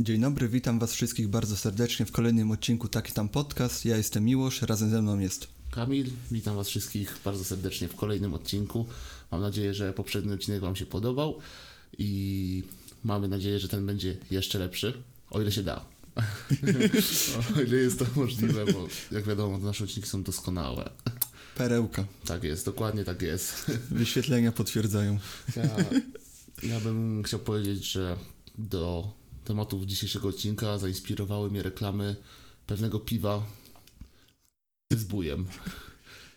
Dzień dobry, witam was wszystkich bardzo serdecznie w kolejnym odcinku Taki Tam Podcast. Ja jestem Miłosz, razem ze mną jest. Kamil, witam Was wszystkich bardzo serdecznie w kolejnym odcinku. Mam nadzieję, że poprzedni odcinek Wam się podobał i mamy nadzieję, że ten będzie jeszcze lepszy, o ile się da. o ile jest to możliwe, bo jak wiadomo, nasze odcinki są doskonałe. Perełka. Tak jest, dokładnie tak jest. Wyświetlenia potwierdzają. Ja, ja bym chciał powiedzieć, że do tematów dzisiejszego odcinka zainspirowały mnie reklamy pewnego piwa z bujem.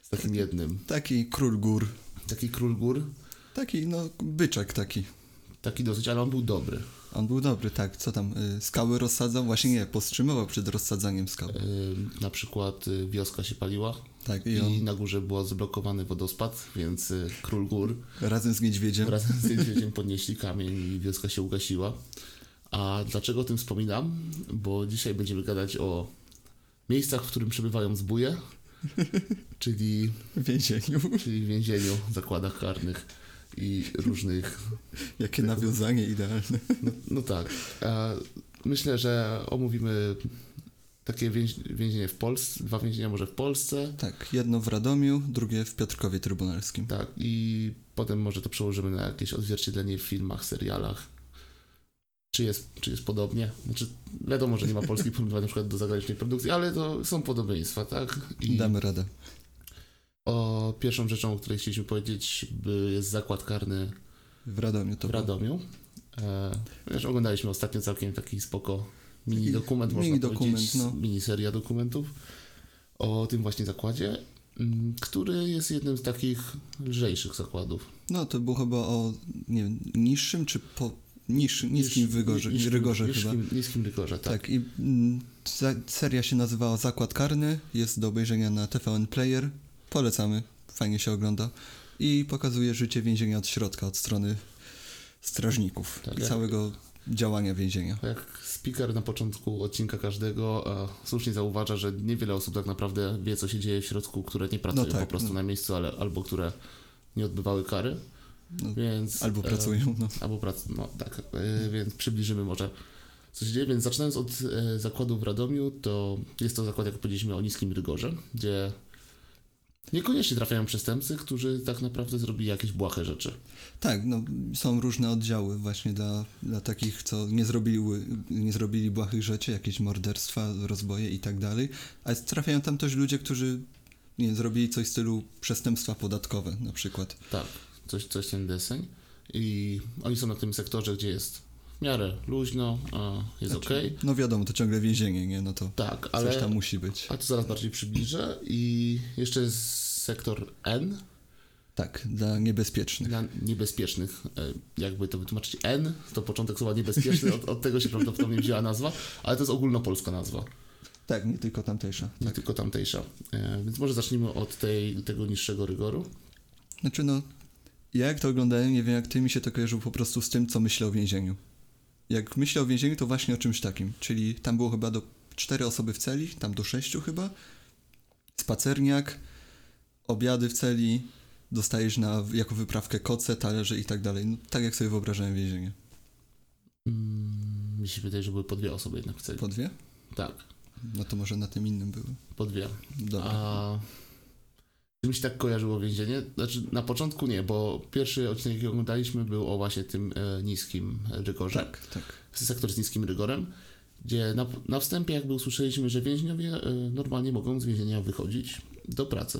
Z takim jednym. Taki król gór. Taki król gór, Taki, no, byczek taki. Taki dosyć, ale on był dobry. On był dobry, tak. Co tam, y, skały rozsadzał? Właśnie nie, powstrzymywał przed rozsadzaniem skał. Yy, na przykład y, wioska się paliła Tak, i i on na górze był zablokowany wodospad, więc y, król gór razem z niedźwiedziem. razem z niedźwiedziem podnieśli kamień i wioska się ugasiła. A dlaczego o tym wspominam? Bo dzisiaj będziemy gadać o miejscach, w którym przebywają zbóje, czyli, W więzieniu. czyli w więzieniu, zakładach karnych i różnych Jakie nawiązanie idealne. No, no tak. E, myślę, że omówimy takie więź, więzienie w Polsce, dwa więzienia może w Polsce. Tak, jedno w Radomiu, drugie w Piotrkowie Trybunalskim. Tak, i potem może to przełożymy na jakieś odzwierciedlenie w filmach, serialach. Czy jest, czy jest podobnie? Znaczy, wiadomo, że nie ma polskich porównywań na przykład do zagranicznej produkcji, ale to są podobieństwa, tak? I Damy radę. o pierwszą rzeczą, o której chcieliśmy powiedzieć, by- jest zakład karny W Radomiu to w było. Radomiu. E, wiesz, oglądaliśmy ostatnio całkiem taki spoko mini dokument, Taki można mini powiedzieć, dokument, no. miniseria dokumentów o tym właśnie zakładzie, mm, który jest jednym z takich lżejszych zakładów. No, to było chyba o, nie wiem, niższym czy po... Niż, niskim wygorze, Niż- rygorze chyba. niskim, Niskim rygorze, tak. Tak, i mm, za- seria się nazywała Zakład Karny, jest do obejrzenia na TVN Player, polecamy, fajnie się ogląda i pokazuje życie więzienia od środka, od strony strażników Tak, i jak- całego działania więzienia. Jak speaker na początku odcinka każdego e, słusznie zauważa, że niewiele osób tak naprawdę wie, co się dzieje w środku, które nie pracują tak, po prostu no. na miejscu, ale albo które nie odbywały kary. więc, No, Albo e, pracują, no. Albo prac, no tak, y, więc przybliżymy może co się dzieje. Więc zaczynając od y, zakładu w Radomiu, to jest to zakład, jak powiedzieliśmy, o niskim rygorze, gdzie niekoniecznie trafiają przestępcy, którzy tak naprawdę zrobili jakieś błahe rzeczy. Tak, no, są różne oddziały właśnie dla, dla takich, co nie, zrobiły, nie zrobili błahych rzeczy, jakieś morderstwa, rozboje i tak dalej, ale trafiają tam też ludzie, którzy nie zrobili coś w stylu przestępstwa podatkowe na przykład. Tak, coś, coś ten deseń. I oni są na tym sektorze, gdzie jest w miarę luźno, a jest okej. No wiadomo, to ciągle więzienie, nie? No to Tak, ale... coś ale tam musi być. a to zaraz bardziej przybliżę. I jeszcze jest sektor N, Tak, dla niebezpiecznych. Dla niebezpiecznych, e, jakby to wytłumaczyć, N to początek słowa niebezpieczny, od, od tego się prawdopodobnie wzięła nazwa, ale to jest ogólnopolska nazwa, Tak, nie tylko tamtejsza. nie tylko tamtejsza. E, Więc może zacznijmy od tej, tego niższego rygoru. Znaczy no, ja jak to oglądałem, nie wiem jak ty, mi się to kojarzyło po prostu z tym, co myślę o więzieniu. Jak myślę o więzieniu, to właśnie o czymś takim. Czyli tam było chyba do cztery osoby w celi, tam do sześciu chyba. Spacerniak, obiady w celi, dostajesz na, jako wyprawkę koce, talerze i tak dalej. No, tak jak sobie wyobrażałem więzienie. Mm, Mi się wydaje, że były po dwie osoby jednak w celi. Po dwie? Tak, No to może na tym innym były. po dwie. Dobra. A czy mi się tak kojarzyło więzienie? Znaczy na początku nie, bo pierwszy odcinek, jaki oglądaliśmy, był o właśnie tym e, niskim rygorze. tak, tak. sektor z niskim rygorem, gdzie na, na wstępie jakby usłyszeliśmy, że więźniowie y, normalnie mogą z więzienia wychodzić do pracy.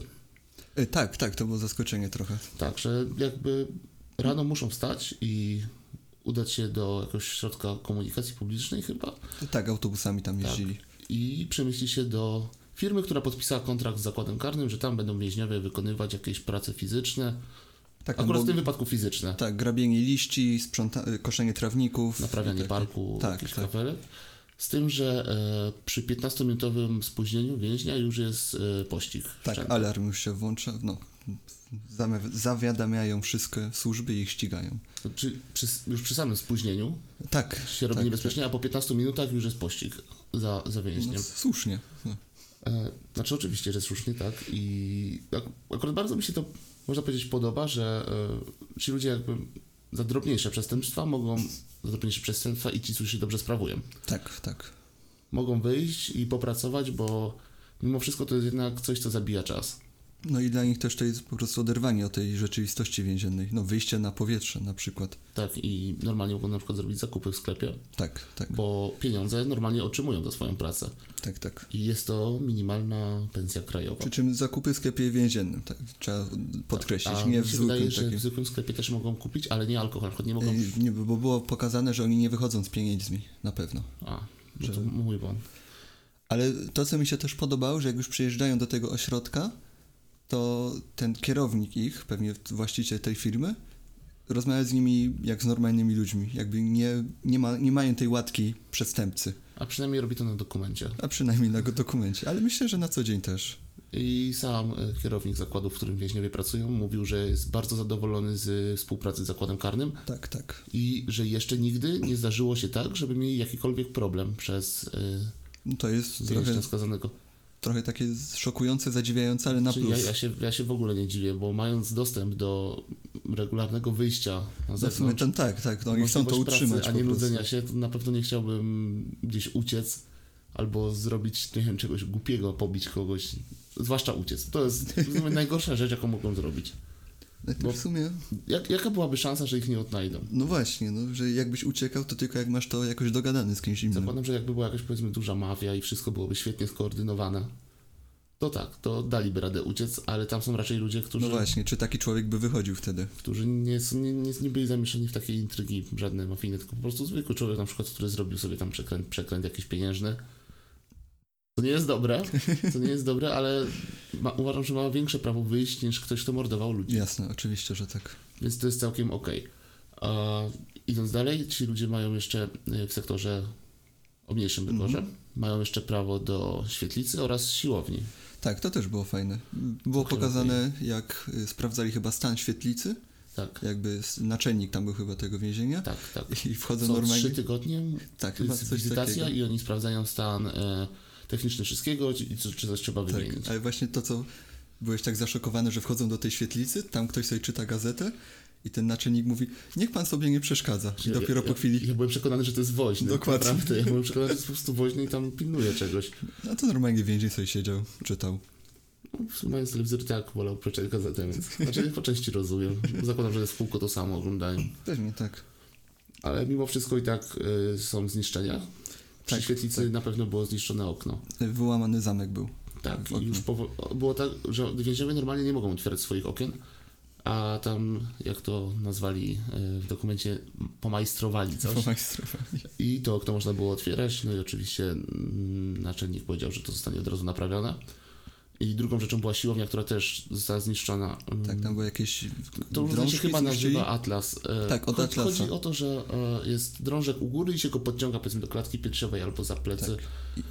E, tak, tak, to było zaskoczenie trochę. Także jakby rano muszą wstać i udać się do jakiegoś środka komunikacji publicznej chyba Tak, autobusami tam jeździli. i przemieścić się do firmy, która podpisała kontrakt z zakładem karnym, że tam będą więźniowie wykonywać jakieś prace fizyczne, Tak, tam akurat było, w tym wypadku fizyczne. tak grabienie liści, sprząta, y, koszenie trawników. naprawianie tak, parku, tak, tak, jakichś tak. kafelek. Z tym, że e, przy 15-minutowym spóźnieniu więźnia już jest e, pościg. Tak, wszędzie. alarm już się włącza, no. Zami- Zawiadamiają wszystkie służby i ich ścigają. To Czy, przy, już przy samym spóźnieniu Tak, się robi tak, niebezpiecznie, a po 15 minutach już jest pościg za, za No, więźniem. słusznie. No. E, znaczy oczywiście, że słusznie, tak. I ak- akurat bardzo mi się to, można powiedzieć, podoba, że e, ci ludzie jakby za drobniejsze przestępstwa mogą, za drobniejsze przestępstwa i ci, którzy się dobrze sprawują, Tak, tak. mogą wyjść i popracować, bo mimo wszystko to jest jednak coś, co zabija czas. No i dla nich też to jest po prostu oderwanie od tej rzeczywistości więziennej. No wyjście na powietrze na przykład. Tak, i normalnie mogą na przykład zrobić zakupy w sklepie, Tak, tak, bo pieniądze normalnie otrzymują za swoją pracę. tak, tak. I jest to minimalna pensja krajowa. Przy czym zakupy w sklepie więziennym, tak, trzeba podkreślić, Tak, A nie mi w się zwykłym wydaje, że takim. w zwykłym sklepie też mogą kupić, ale nie alkohol, choć nie mogą. Ej, Nie, bo było pokazane, że oni nie wychodzą z pieniędzmi, na pewno. A, no to mój błąd. Ale to, co mi się też podobało, że jak już przyjeżdżają do tego ośrodka, to ten kierownik ich, pewnie właściciel tej firmy, rozmawia z nimi jak z normalnymi ludźmi, jakby nie, nie, ma, nie mają tej łatki przestępcy, A przynajmniej robi to na dokumencie. a przynajmniej na go dokumencie, ale myślę, że na co dzień też. I sam e, kierownik zakładu, w którym więźniowie pracują, mówił, że jest bardzo zadowolony z współpracy z zakładem karnym Tak, tak. i że jeszcze nigdy nie zdarzyło się tak, żeby mieli jakikolwiek problem przez y, No To jest e, jeszcze trochę, skazanego. trochę takie szokujące, zadziwiające, ale na Czyli Znaczy, ja, plus. ja, się, ja się w ogóle nie dziwię, bo mając dostęp do regularnego wyjścia na No w sumie zewnątrz, ten tak, tak, no oni chcą to możliwość utrzymać Pracy, a nie po prostu. nudzenia się, to na pewno nie chciałbym gdzieś uciec albo zrobić, nie wiem, czegoś głupiego, pobić kogoś, zwłaszcza uciec. To jest najgorsza rzecz, jaką mogą zrobić. No to bo- W sumie, Jak, jaka byłaby szansa, że ich nie odnajdą? no właśnie, no, że jakbyś uciekał, to tylko jak masz to jakoś dogadane z kimś innym. Zakładam, że jakby była jakaś powiedzmy duża mafia i wszystko byłoby świetnie skoordynowane, to tak, to daliby radę uciec, ale tam są raczej ludzie, No którzy, właśnie, czy taki człowiek by wychodził wtedy? którzy nie, są, nie, nie, nie byli zamieszani w takie intrygi żadne mafijne, tylko po prostu zwykły człowiek na przykład, który zrobił sobie tam przekręt, przekręt jakiś pieniężny. To nie jest dobre, to nie jest dobre, ale ma, uważam, że ma większe prawo wyjść niż ktoś, kto mordował ludzi. Jasne, oczywiście, że tak. Więc to jest całkiem okej. A Idąc dalej, ci ludzie mają jeszcze y, w sektorze o mniejszym Mhm. wyborze, mają jeszcze prawo do świetlicy oraz siłowni. Tak, to też było fajne. Było Okej, pokazane, jak y, sprawdzali chyba stan świetlicy, Tak, jakby s- naczelnik tam był chyba tego więzienia tak, tak. i wchodzą Co trzy normalnie. tygodnie Tak, chyba jest coś wizytacja takiego. i oni sprawdzają stan e, techniczny wszystkiego i czy, czy coś trzeba Tak, wymienić. ale właśnie to, co byłeś tak zaszokowany, że wchodzą do tej świetlicy, tam ktoś sobie czyta gazetę i ten naczelnik mówi, niech pan sobie nie przeszkadza. I dopiero ja, po chwili, Ja, ja byłem przekonany, że to jest woźny. Dokładnie. Naprawdę, ja byłem przekonany, że to jest po prostu woźny i tam pilnuje czegoś. no to normalnie więzień sobie siedział, czytał. No, Mając telewizor, tak, wolał przeczytać gazetę, więc znaczy, po części rozumiem. Zakładam, że jest kółko to samo oglądają. Pewnie tak. Ale mimo wszystko i tak y, są zniszczenia. Przy Tak, świetlicy na pewno było zniszczone okno. Wyłamany zamek był. Tak, okno. i już powo- było tak, że więźniowie normalnie nie mogą otwierać swoich okien, a tam, jak to nazwali y, w dokumencie, pomajstrowali coś. Pomajstrowali. I to okno można było otwierać, no i oczywiście mm, naczelnik powiedział, że to zostanie od razu naprawione. I drugą rzeczą była siłownia, która też została zniszczona. Mm, Tak, tam były jakieś To już się drążki chyba zniszczyli. nazywa Atlas. E, Tak, od chodzi, Atlasa. Chodzi o to, że e, jest drążek u góry i się go podciąga powiedzmy do klatki piersiowej albo za plecy. Tak,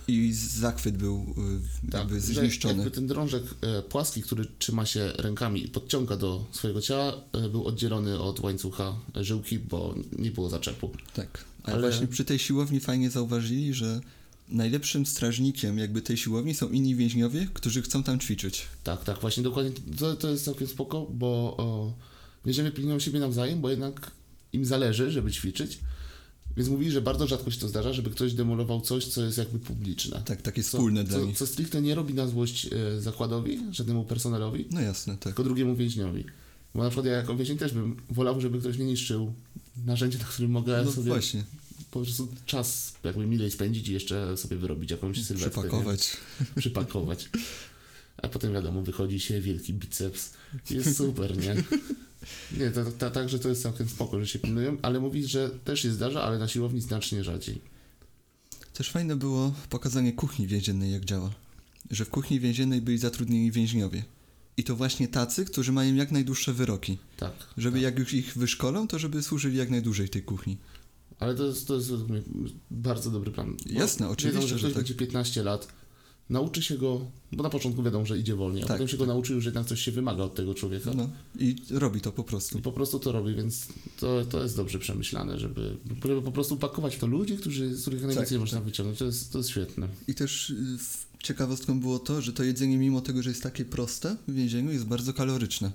I, i zachwyt był y, jakby Tak, że zniszczony. Jakby ten drążek e, płaski, który trzyma się rękami i podciąga do swojego ciała, e, był oddzielony od łańcucha żyłki, bo nie było zaczepu. Tak. Ale, Ale- właśnie przy tej siłowni fajnie zauważyli, że najlepszym strażnikiem jakby tej siłowni są inni więźniowie, którzy chcą tam ćwiczyć. Tak, tak, właśnie dokładnie. To, to jest całkiem spoko, bo o, bierzemy pilnują siebie nawzajem, bo jednak im zależy, żeby ćwiczyć. Więc mówili, że bardzo rzadko się to zdarza, żeby ktoś demolował coś, co jest jakby publiczne. Tak, takie wspólne co, dla co, nich. co stricte nie robi na złość e, zakładowi, żadnemu personelowi, No jasne, tak. tylko drugiemu więźniowi. Bo na przykład ja jako więzień też bym wolał, żeby ktoś nie niszczył narzędzia, na którym mogę No sobie właśnie, po prostu czas jakby milej spędzić i jeszcze sobie wyrobić jakąś sylwetkę. nie? przypakować. przypakować. A potem wiadomo, wychodzi się wielki biceps. Jest super, nie? Nie, to, to, to, także to jest całkiem spoko, że się pilnują, ale mówi, że też się zdarza, ale na siłowni znacznie rzadziej. Też fajne było pokazanie kuchni więziennej, jak działa. Że w kuchni więziennej byli zatrudnieni więźniowie. I to właśnie tacy, którzy mają jak najdłuższe wyroki. Tak. Żeby jak już ich wyszkolą, to żeby służyli jak najdłużej tej kuchni. Ale to jest, to jest według mnie bardzo dobry plan. Bo Jasne, oczywiście, Wiedzą, że że ktoś tak. będzie 15 lat, nauczy się go, bo na początku wiadomo, że idzie wolniej, a Tak, potem się go nauczy już jednak coś się wymaga od tego człowieka. No i robi to po prostu. I po prostu to robi, więc to, to jest dobrze przemyślane, żeby, żeby po prostu pakować w to ludzi, którzy, z których Tak, najwięcej można wyciągnąć. To jest, to jest świetne. I też y, w- ciekawostką było to, że to jedzenie, mimo tego, że jest takie proste w więzieniu, jest bardzo kaloryczne.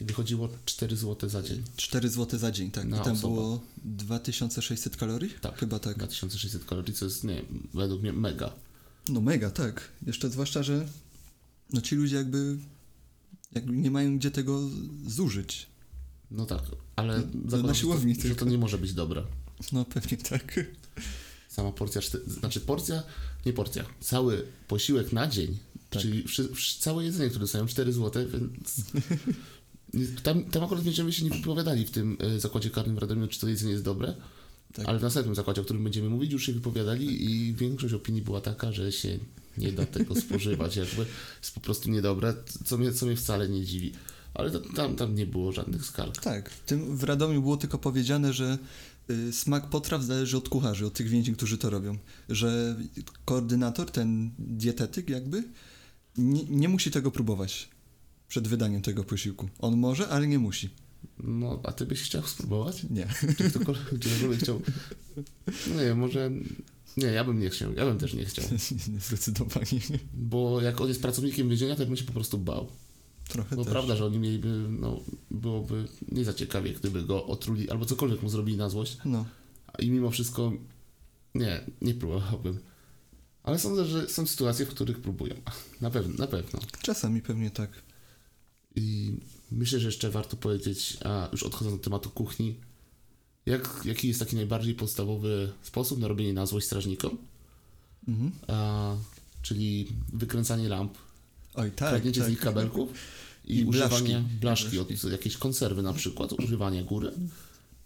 I wychodziło 4 zł za dzień. 4 zł za dzień, tak. Na I tam osobę. było 2600 kalorii? Tak. Chyba tak. 2600 kalorii, co jest, nie wiem, według mnie mega. No mega, tak. Jeszcze zwłaszcza, że no ci ludzie jakby, jakby nie mają gdzie tego zużyć. No tak, ale zakładam, na że siłowni to, że tylko. to nie może być dobre. No pewnie tak. Sama porcja, czty- znaczy porcja, nie porcja, cały posiłek na dzień, Tak. czyli wszy, wszy, całe jedzenie, które dostają 4 zł, więc... Tam, tam akurat będziemy się nie wypowiadali w tym e, zakładzie karnym w Radomiu, czy to jedzenie jest dobre, Tak. ale w następnym zakładzie, o którym będziemy mówić, już się wypowiadali i większość opinii była taka, że się nie da tego spożywać, jakby jest po prostu niedobre, co mnie, co mnie wcale nie dziwi. Ale to, tam, tam nie było żadnych skarg. Tak. W, tym, w Radomiu było tylko powiedziane, że y, smak potraw zależy od kucharzy, od tych więźniów, którzy to robią. Że koordynator, ten dietetyk jakby, nie, nie musi tego próbować przed wydaniem tego posiłku. On może, ale nie musi. No, a ty byś chciał spróbować? Nie. Czy ktokolwiek, czy ktokolwiek chciał? No nie, wiem, może... Nie, ja bym nie chciał, ja bym też nie chciał. Zdecydowanie. Bo jak on jest pracownikiem więzienia, to bym się po prostu bał. Trochę Bo też. prawda, że oni mieliby, no, byłoby nie za ciekawie, gdyby go otruli albo cokolwiek mu zrobili na złość. No. I mimo wszystko, nie, nie próbowałbym. Ale sądzę, że są sytuacje, w których próbują. Na pewno, na pewno. Czasami pewnie tak. I myślę, że jeszcze warto powiedzieć, a już odchodząc od tematu kuchni, jak, jaki jest taki najbardziej podstawowy sposób na robienie na złość strażnikom? Mhm. A, czyli wykręcanie lamp, Oj, tak. kradnięcie z tak. nich kabelków i, I używanie blaszki. blaszki od jakiejś konserwy na przykład, używanie góry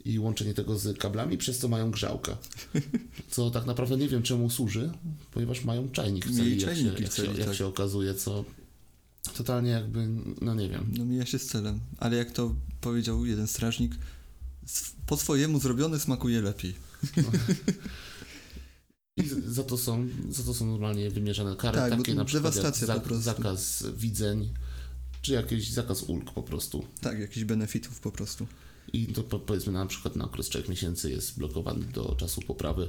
i łączenie tego z kablami, przez co mają grzałkę. Co tak naprawdę nie wiem czemu służy, ponieważ mają czajnik w Mieli celi, jak, się, czajniki w jak, się, celi, jak tak. się okazuje, co totalnie jakby, no nie wiem, No mija się z celem, ale jak to powiedział jeden strażnik, s- po swojemu zrobione smakuje lepiej. I z- za to są, za to są normalnie wymierzane kary, Tak, bo takie to na przykład jak dewastacja po za, prostu. zakaz widzeń, czy jakiś zakaz ulg po prostu. Tak, jakichś benefitów po prostu. I to po, powiedzmy na przykład na okres 3 miesięcy jest blokowany do czasu poprawy.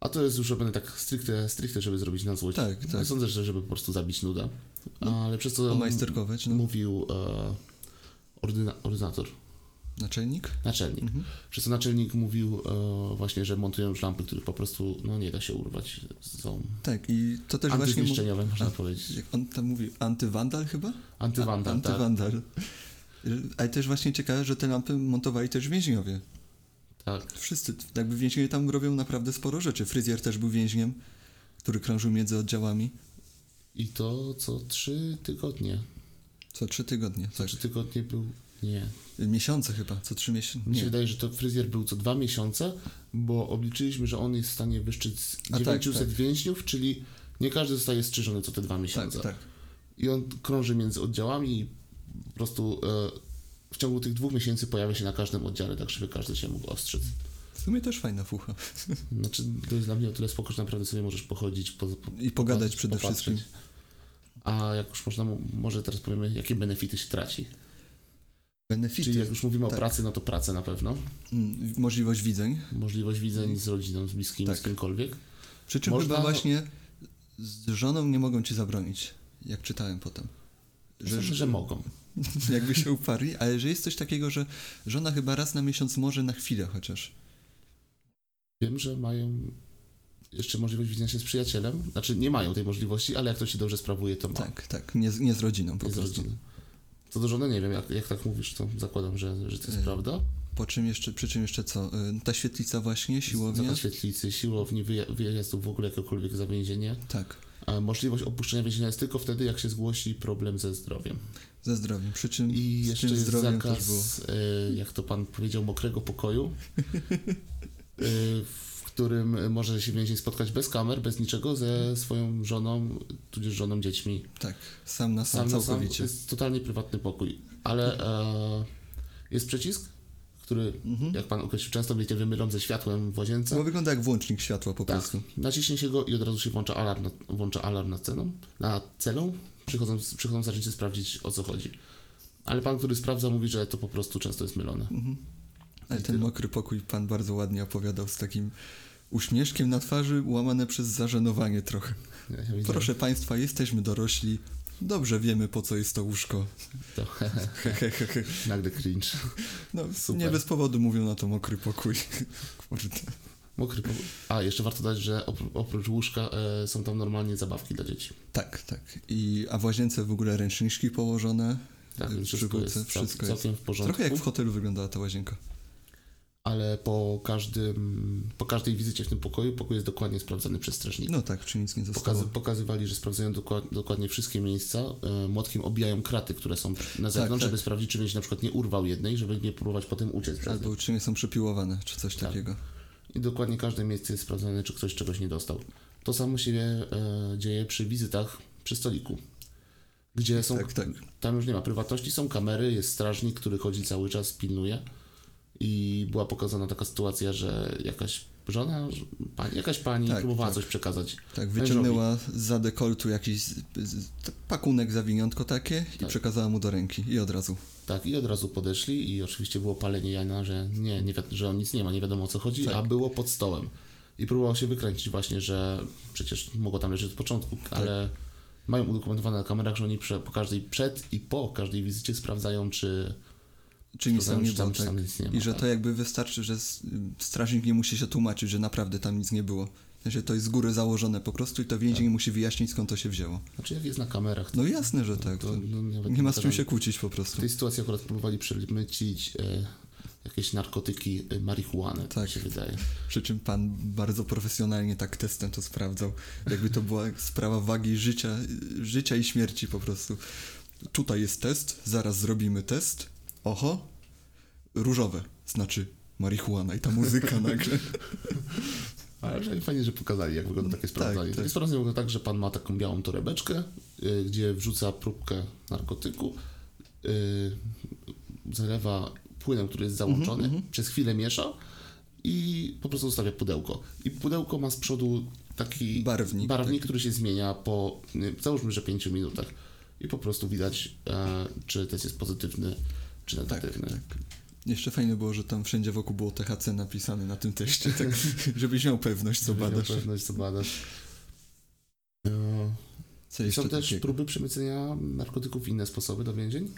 A to jest już robione tak stricte, stricte żeby zrobić na złość. Tak, No, tak. Sądzę, że żeby po prostu zabić nudę. Ale przez to Omajsterkować, no. mówił e, ordyna, ordynator, Naczelnik? naczelnik. Mhm. Przez to naczelnik mówił e, właśnie, że montują już lampy, których po prostu no, nie da się urwać. Są Tak, i to też właśnie... mu- antyzniszczeniowe, można A, powiedzieć. Jak on tam mówił, antywandal chyba? Antywandal, tak. Antywandal. Ale też właśnie ciekawe, że te lampy montowali też więźniowie. tak. Wszyscy, jakby więźniowie tam robią naprawdę sporo rzeczy. Fryzjer też był więźniem, który krążył między oddziałami I to co trzy tygodnie. co trzy tygodnie. Co Tak. trzy tygodnie był. Nie. Miesiące chyba, co trzy Mi się miesiące. wydaje, że to fryzjer był co dwa miesiące, bo obliczyliśmy, że on jest w stanie wyszczyć A tak, 900 tak. więźniów, czyli nie każdy zostaje strzyżony co te dwa Tak, miesiące. tak. I on krąży między oddziałami i po prostu e, w ciągu tych dwóch miesięcy pojawia się na każdym oddziale, tak żeby każdy się mógł ostrzec. W sumie też fajna fucha. Znaczy, to jest dla mnie o tyle spoko, że naprawdę sobie możesz pochodzić, po, po, I pogadać przede No, popatrzeć. wszystkim. A jak już można, może teraz powiemy, jakie benefity się traci. Benefity. Czyli jak już mówimy tak. o pracy, no to pracę na pewno. Mm, Możliwość widzeń. Możliwość widzeń z rodziną, z bliskimi, Tak. z kimkolwiek. Przy czym Można- chyba właśnie z żoną nie mogą ci zabronić, jak czytałem potem. Że, Że, że mogą. jakby się uparli, ale że jest coś takiego, że żona chyba raz na miesiąc może na chwilę chociaż. Wiem, że mają jeszcze możliwość widzenia się z przyjacielem. Znaczy nie mają tej możliwości, ale jak to się dobrze sprawuje, to ma. Tak, tak, nie, z- nie z rodziną po No. nie z prostu. rodziny. Co do żony, nie wiem, jak, jak tak mówisz, to zakładam, że, że to jest Yy, prawda. Po czym jeszcze, przy czym jeszcze co? Y, Ta świetlica właśnie, siłownia? Zakaz świetlicy, siłowni, wyja- wyjazdów w ogóle jakiekolwiek za więzienie. Tak, A możliwość opuszczenia więzienia jest tylko wtedy, jak się zgłosi problem ze zdrowiem. ze zdrowiem. Przy czym I z jeszcze tym jest zdrowiem też było. zakaz, e, jak to pan powiedział, mokrego pokoju, e, w którym może się więzień spotkać bez kamer, bez niczego, ze swoją żoną, tudzież żoną, dziećmi. Tak, sam na sam, na całkowicie. jest totalnie prywatny pokój, ale e, jest przycisk, który, jak pan określił, często wiecie, wymylą ze światłem w łazience. Mhm. Bo wygląda jak włącznik światła po Tak, prostu. naciśnie się go i od razu się włącza alarm, nad- włącza alarm nad ceną, nad celą, przychodzą, przychodzą zaczęcie sprawdzić o co chodzi. Ale pan, który sprawdza, mówi, że to po prostu często jest mylone. Ale ten mokry pokój pan bardzo ładnie opowiadał z takim uśmieszkiem na twarzy, łamane przez zażenowanie trochę. Ja, ja widzę. Proszę państwa, jesteśmy dorośli, Dobrze wiemy, po co jest to łóżko. To nagle cringe. No, Super. nie bez powodu mówią na to mokry pokój. Kurde. Mokry pokój. A, jeszcze warto dać, że op- oprócz łóżka e, są tam normalnie zabawki dla dzieci. Tak, tak. I, a w łazience w ogóle ręczniczki położone. Tak, y, więc przy wszystko półce, jest całkiem, całkiem w porządku. Trochę jak w hotelu wyglądała ta łazienka. Ale po, każdym, po każdej wizycie w tym pokoju, pokój jest dokładnie sprawdzany przez strażnika. No tak, czy nic nie zostało. Pokazy, pokazywali, że sprawdzają dokład, dokładnie wszystkie miejsca. E, młotkiem obijają kraty, które są na zewnątrz, tak. żeby sprawdzić, czy więź na przykład nie urwał jednej, żeby nie próbować potem uciec przez nią. Albo czy nie są przepiłowane, czy coś Tak. takiego. I dokładnie każde miejsce jest sprawdzone, czy ktoś czegoś nie dostał. To samo się e, dzieje przy wizytach przy stoliku, gdzie są. Tak, tak. Tam już nie ma prywatności, są kamery, jest strażnik, który chodzi cały czas, pilnuje. I była pokazana taka sytuacja, że jakaś żona, pani, jakaś pani Tak, próbowała tak. coś przekazać. Tak, wyciągnęła za dekoltu jakiś z- z- t- pakunek zawiniątko takie i przekazała mu do ręki i od razu. Tak, i od razu podeszli i oczywiście było palenie Jana, że nie, nie wi- że on nic nie ma, nie wiadomo o co chodzi, Tak. a było pod stołem. I próbował się wykręcić właśnie, że przecież mogło tam leżeć od początku, Tak. ale mają udokumentowane na kamerach, że oni prze, po każdej przed i po każdej wizycie sprawdzają, czy Czy nic Sprawdzają, tam nie czy było. tam- czy tak. tam nic nie ma, I że to tak. jakby wystarczy, że s- strażnik nie musi się tłumaczyć, że naprawdę tam nic nie było. W sensie to jest z góry założone po prostu i to więzień Tak. musi wyjaśnić skąd to się wzięło. znaczy jak jest na kamerach, to, No jasne, że tak. to to- no, nawet Nie ma z czym teraz- się kłócić po W prostu. tej sytuacji akurat próbowali przemycić e, jakieś narkotyki, e, marihuanę, tak Tak. mi się wydaje. Przy czym pan bardzo profesjonalnie tak testem to sprawdzał. Jakby to była sprawa wagi życia, życia i śmierci po prostu. Tutaj jest test, zaraz zrobimy test. Oho, różowe, znaczy marihuana i ta muzyka nagle. Ale przynajmniej fajnie, że pokazali, jak wygląda takie sprawdzanie. Mhm. tak. Takie sprawdzanie wygląda tak, że pan ma taką białą torebeczkę, y, gdzie wrzuca próbkę narkotyku, y, zalewa płynem, który jest Mhm, załączony, przez chwilę miesza i po prostu zostawia pudełko. I pudełko ma z przodu taki Barwnik, tak. który się zmienia po, y, załóżmy, że 5 minutach. I po prostu widać, e, czy test jest pozytywny, czy Tak, negatywny. Jeszcze fajne było, że tam wszędzie wokół było THC napisane na tym teście, tak, żebyś miał pewność, co Żeby miał badasz. pewność, co badasz. No. Co Są jeszcze też takiego? próby przemycenia narkotyków w inne sposoby do więzień.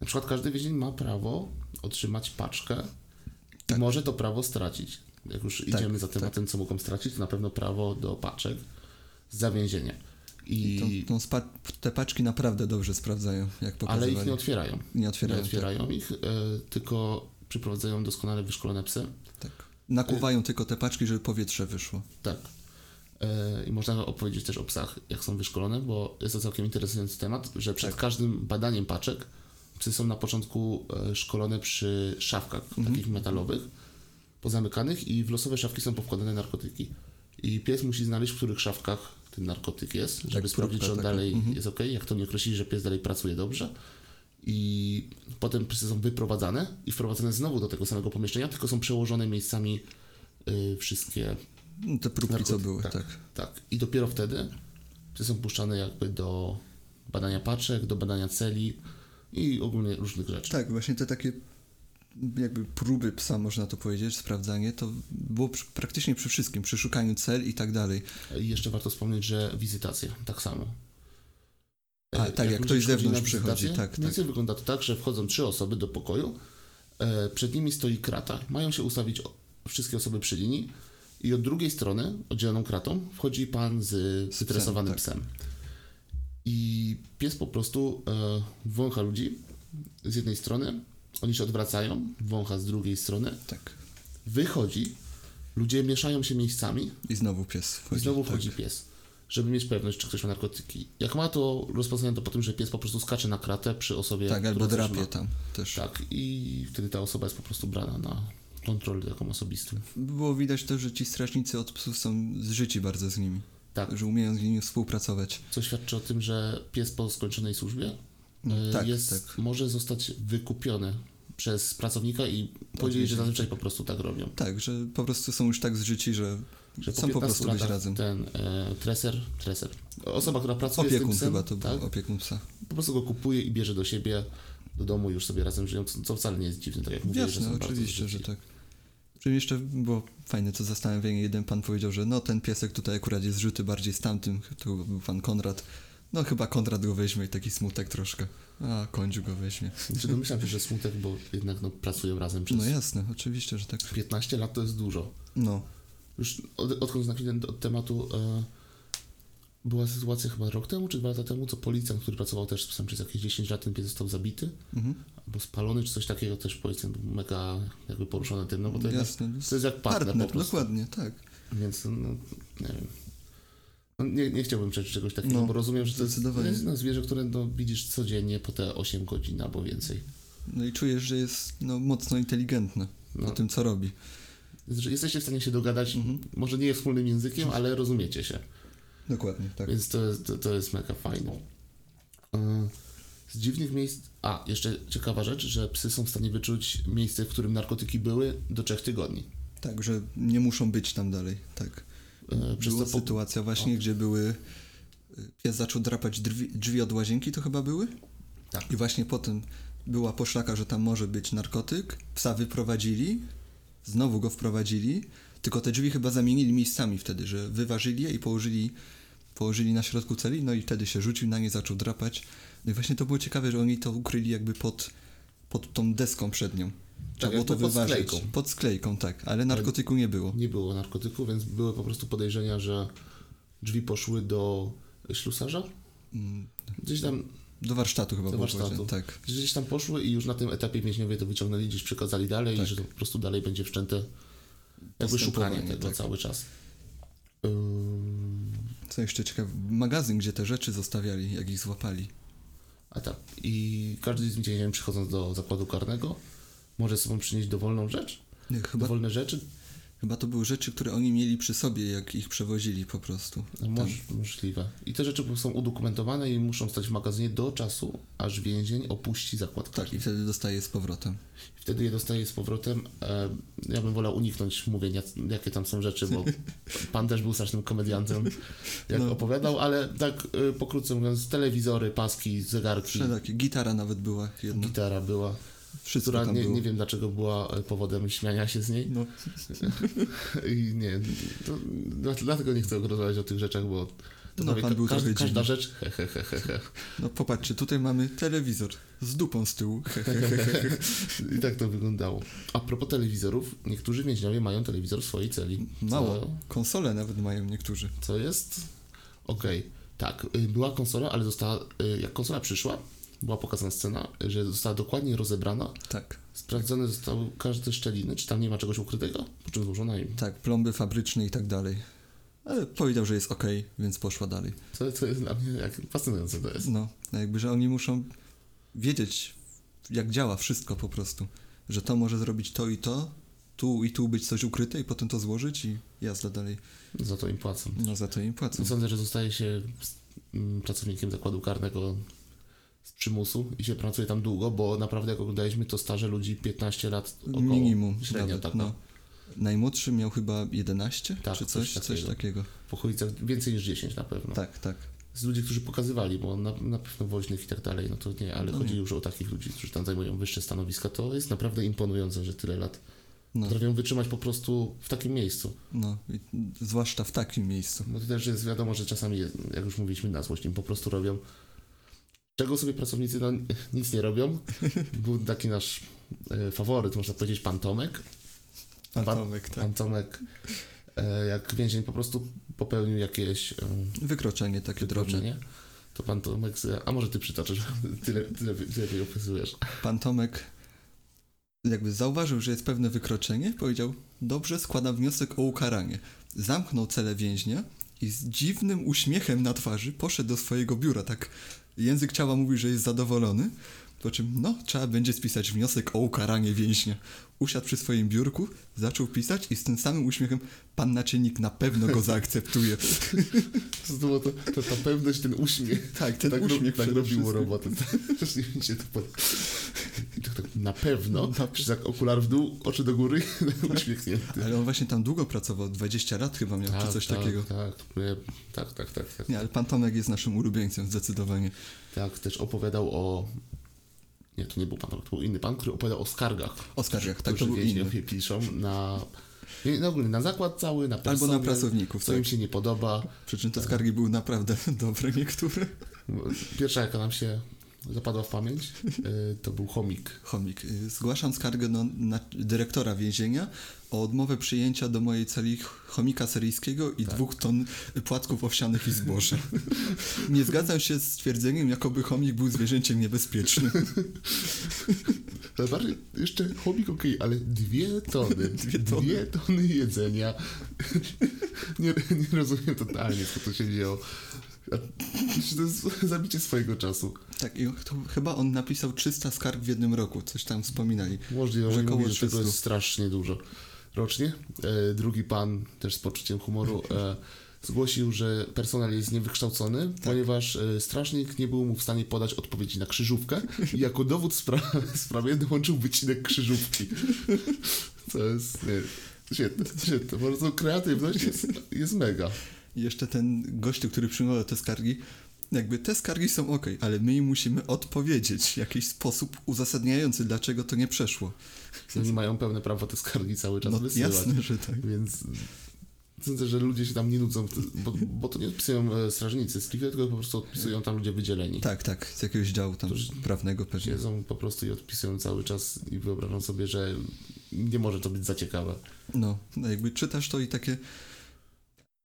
Na przykład każdy więzień ma prawo otrzymać paczkę Tak. i może to prawo stracić. Jak już idziemy za tak. tematem, co mogą stracić, to na pewno prawo do paczek za więzienie. I, Tą, tą spa- te paczki naprawdę dobrze sprawdzają, jak ale pokazywali. ich nie otwierają. nie Nie otwierają. tak. otwierają ich, e, tylko przyprowadzają doskonale wyszkolone psy. Tak. tak. Nakuwają tylko te paczki, żeby powietrze wyszło. Tak. E, I można opowiedzieć też o psach, jak są wyszkolone, bo jest to całkiem interesujący temat, że przed każdym badaniem paczek psy są na początku e, szkolone przy szafkach takich metalowych, pozamykanych i w losowe szafki są powkładane narkotyki. I pies musi znaleźć, w których szafkach ten narkotyk jest, żeby próbka sprawdzić, czy on taka. dalej jest ok. Jak to nie określi, że pies dalej pracuje dobrze. I potem psy są wyprowadzane i wprowadzane znowu do tego samego pomieszczenia, tylko są przełożone miejscami y, wszystkie No, Te próbki, co Narkotyk, były, tak. tak. I dopiero wtedy psy są puszczane jakby do badania paczek, do badania celi i ogólnie różnych rzeczy. Tak, właśnie te takie jakby próby psa, można to powiedzieć, sprawdzanie, to było przy, praktycznie przy wszystkim, przy szukaniu cel i tak dalej. I jeszcze warto wspomnieć, że wizytacje tak samo. E, A, tak, jak ktoś ludzie z przychodzi zewnątrz na przychodzi, wizytację, tak, tak. mniej więcej wygląda to tak, że wchodzą trzy osoby do pokoju, e, przed nimi stoi krata, mają się ustawić o- wszystkie osoby przy linii i od drugiej strony, oddzieloną kratą, wchodzi pan z psem, stresowanym tak. psem. I pies po prostu e, wącha ludzi z jednej strony, oni się odwracają, wącha z drugiej strony, Tak. wychodzi, ludzie mieszają się miejscami, I znowu pies i wchodzi. tak. znowu wchodzi pies, żeby mieć pewność, czy ktoś ma narkotyki. Jak ma to rozpoznanie to po tym, że pies po prostu skacze na kratę przy osobie. Tak, tak albo która coś drapie ma. tam też. Tak, i wtedy ta osoba jest po prostu brana na kontrolę taką osobistą. Było widać też, że ci strażnicy od psów są zżyci bardzo z nimi. Tak, Że umieją z nimi współpracować. co świadczy o tym, że pies po skończonej służbie e, tak, jest, tak. może zostać wykupiony przez pracownika i powiedzieli, że zazwyczaj po prostu tak robią. Tak, że po prostu są już tak zżyci, że, Że chcą po 15 prostu być latach razem. Ten e, treser, treser, osoba, która pracuje z tym Opiekun psem, chyba to był, tak, opiekun psa. po prostu go kupuje i bierze do siebie, do domu już sobie razem żyją, co, co wcale nie jest dziwne, tak jak mówię, że Jasne, są bardzo oczywiście, że zżyci. tak. Przy jeszcze było fajne to zastanowienie. Jeden pan powiedział, że no ten piesek tutaj akurat jest żyty bardziej z tamtym, to chyba był pan Konrad, No chyba Konrad go weźmie i taki smutek troszkę. A, Kądziu go weźmie. Znaczy, domyślam się, że smutek, bo jednak no, pracują razem przez No jasne, oczywiście, że tak. 15 lat, to jest dużo. No. Już od, odchodząc na chwilę od tematu, e, była sytuacja chyba rok temu czy dwa lata temu, co policjant, który pracował też z psem przez jakieś 10 lat, ten pies został zabity Mhm. albo spalony czy coś takiego, też policjant był mega jakby poruszony tym, no bo to, jednak, Jasne. to jest jak partner, po prostu. dokładnie, tak. Więc no, nie wiem. No, nie, nie chciałbym przeczytać czegoś takiego, No, bo rozumiem, że to jest, to zdecydowanie. jest no, zwierzę, które no, widzisz codziennie po te 8 godzin albo więcej. No i czujesz, że jest no, mocno inteligentny No. o tym, co robi. Więc, że Jesteście w stanie się dogadać, Mhm. może nie wspólnym językiem, ale rozumiecie się. Dokładnie, tak. Więc to jest, to, to jest mega fajne. Y, Z dziwnych miejsc. A, jeszcze ciekawa rzecz, że psy są w stanie wyczuć miejsce, w którym narkotyki były do trzech tygodni. Tak, że nie muszą być tam dalej, tak. Y, Przez Była to po... sytuacja właśnie, gdzie były... y, Pies zaczął drapać drzwi, drzwi od łazienki, to chyba były? Tak. I właśnie potem była poszlaka, że tam może być narkotyk. Psa wyprowadzili, znowu go wprowadzili, tylko te drzwi chyba zamienili miejscami wtedy, że wyważyli je i położyli, położyli na środku celi, no i wtedy się rzucił na nie, zaczął drapać. No i właśnie to było ciekawe, że oni to ukryli jakby pod, pod tą deską przednią. Trzeba było Tak, jakby to pod wyważyć. sklejką. Pod sklejką, tak, ale narkotyku nie było. nie było narkotyków, więc były po prostu podejrzenia, że drzwi poszły do ślusarza. Mm. Gdzieś tam Do warsztatu chyba do było powiedziane, warsztatu. Tak. Gdzieś tam poszły i już na tym etapie więźniowie to wyciągnęli, gdzieś przekazali dalej Tak. i że to po prostu dalej będzie wszczęte jakby szukanie Postępowanie, tego tak. cały czas. Ym, Co jeszcze ciekawe, magazyn, gdzie te rzeczy zostawiali, jak ich złapali. A tak. I każdy z więźniów przychodząc do zakładu karnego może sobą przynieść dowolną rzecz, Nie, Chyba dowolne rzeczy. Chyba to były rzeczy, które oni mieli przy sobie, jak ich przewozili po prostu. No, moż, możliwe. I te rzeczy są udokumentowane i muszą stać w magazynie do czasu, aż więzień opuści zakład Tak, karny. i wtedy dostaje z powrotem. Wtedy je dostaje z powrotem. E, ja bym wolał uniknąć mówienia, jakie tam są rzeczy, bo pan też był strasznym komediantem, jak No. opowiadał, ale tak y, pokrótce mówiąc, telewizory, paski, zegarki, Wszelakie. Gitara nawet była jedna. gitara była, no. Wszystko która tam nie, było. nie wiem dlaczego była e, powodem śmiania się z niej. No, I nie, to, dla- dlatego nie chcę rozmawiać o tych rzeczach, bo to No, prawie pan ka- był każda- trochę każda dziwny. rzecz. He, he, he, he, he. no popatrzcie, tutaj mamy telewizor z dupą z tyłu. I tak to wyglądało. A propos telewizorów, niektórzy więźniowie mają telewizor w swojej celi. Mało. Konsole nawet mają niektórzy. Co, co jest? Okej, tak. y, Była konsola, ale została, y, jak konsola przyszła, była pokazana scena, y, że została dokładnie rozebrana, Tak, sprawdzone zostały każde szczeliny, czy tam nie ma czegoś ukrytego, po czym złożona im. tak, plomby fabryczne i tak dalej. Ale powiedział, że jest okej, więc poszła dalej. To, to jest dla mnie jak fascynujące to jest. No, jakby, że oni muszą wiedzieć, jak działa wszystko po prostu. Że to może zrobić to i to, tu i tu być coś ukryte i potem to złożyć i jazda dalej. Za to im płacą. No za to im płacą. Sądzę, że zostaje się mm, pracownikiem zakładu karnego z przymusu i się pracuje tam długo, bo naprawdę jak oglądaliśmy to starze ludzi 15 lat około, Minimum średnio nawet, tak, no. no. Najmłodszy miał chyba 11 Tak, czy coś, coś coś takiego. takiego. w okolicach więcej niż 10 na pewno. Tak, tak. Z ludzi, którzy pokazywali, bo na, na pewno woźnych i tak dalej, no to nie, ale No chodzi nie. już o takich ludzi, którzy tam zajmują wyższe stanowiska, to jest naprawdę imponujące, że tyle lat No, potrafią wytrzymać po prostu w takim miejscu. no, i, zwłaszcza w takim miejscu. No to też jest wiadomo, że czasami, jak już mówiliśmy, na złość im po prostu robią. Czego sobie pracownicy no, nic nie robią? Był taki nasz e, faworyt, można powiedzieć, pan Tomek. Pan Pan- Tomek, tak. Pan Tomek, e, jak więzień po prostu popełnił jakieś e, Wykroczenie takie drobne. wykroczenie, to pan Tomek, z- a może ty przytoczysz, tyle, tyle, tyle jej opisujesz. Pan Tomek jakby zauważył, że jest pewne wykroczenie, powiedział, dobrze, składam wniosek o ukaranie. Zamknął celę więźnia i z dziwnym uśmiechem na twarzy poszedł do swojego biura, tak język ciała mówi, że jest zadowolony, po czym, no, trzeba będzie spisać wniosek o ukaranie więźnia. Usiadł przy swoim biurku, zaczął pisać i z tym samym uśmiechem pan naczynik na pewno go zaakceptuje. To, było to, to ta pewność, ten uśmiech. tak, ten tak ro- uśmiech tak przede robiło wszystkim. robotę. Też nie wiem, gdzie to pod... I to tak na No, pewno, że tak okular w dół, oczy do góry, uśmiechnięty. Ale on właśnie tam długo pracował, 20 lat chyba miał, czy coś tak, takiego. Tak, Nie, tak, tak, tak, tak. Nie, ale pan Tomek jest naszym ulubieńcem, zdecydowanie. Tak, też opowiadał o... Nie, to nie był pan, to był inny pan, który opowiadał o skargach. O skargach, tak, to którzy był inny. więźniowie piszą na I, no ogólnie na zakład cały, na personel, na pracowników, co tak. im się nie podoba. Przy czym te skargi były naprawdę dobre niektóre. Pierwsza, jaka nam się zapadła w pamięć, y, to był chomik. Chomik, y, zgłaszam skargę do na dyrektora więzienia o odmowę przyjęcia do mojej celi ch- chomika syryjskiego i dwóch ton płatków owsianych i zboża. Nie zgadzam się z twierdzeniem, jakoby chomik był zwierzęciem niebezpiecznym. Ale bardziej, jeszcze chomik okej, ale dwie tony, dwie tony. tony, jedzenia. nie, nie rozumiem totalnie, co tu się dzieje. To jest zabicie swojego czasu. Tak, i to, chyba on napisał 300 skarg w jednym roku, coś tam wspominali. Możliwe, Że że, koło mówi, że tego 300. jest strasznie dużo rocznie. E, drugi pan, też z poczuciem humoru, e, zgłosił, że personel jest niewykształcony, Tak. ponieważ e, strażnik nie był mu w stanie podać odpowiedzi na krzyżówkę i jako dowód spra- sprawie dołączył wycinek krzyżówki. To jest... Nie, świetne, świetne. Po prostu kreatywność jest, jest mega. I jeszcze ten gościu, który przyjmował te skargi, jakby te skargi są ok, ale my im musimy odpowiedzieć w jakiś sposób uzasadniający, dlaczego to nie przeszło. Oni mają pełne prawo te skargi cały czas No wysyłać. jasne, że tak. Więc sądzę, że ludzie się tam nie nudzą, bo, bo to nie odpisują e, strażnicy z Clifford, tylko po prostu odpisują tam ludzie wydzieleni. Tak, tak, z jakiegoś działu tam prawnego pewnie. Siedzą po prostu i odpisują cały czas i wyobrażam sobie, że nie może to być za ciekawe. No, no jakby czytasz to i takie...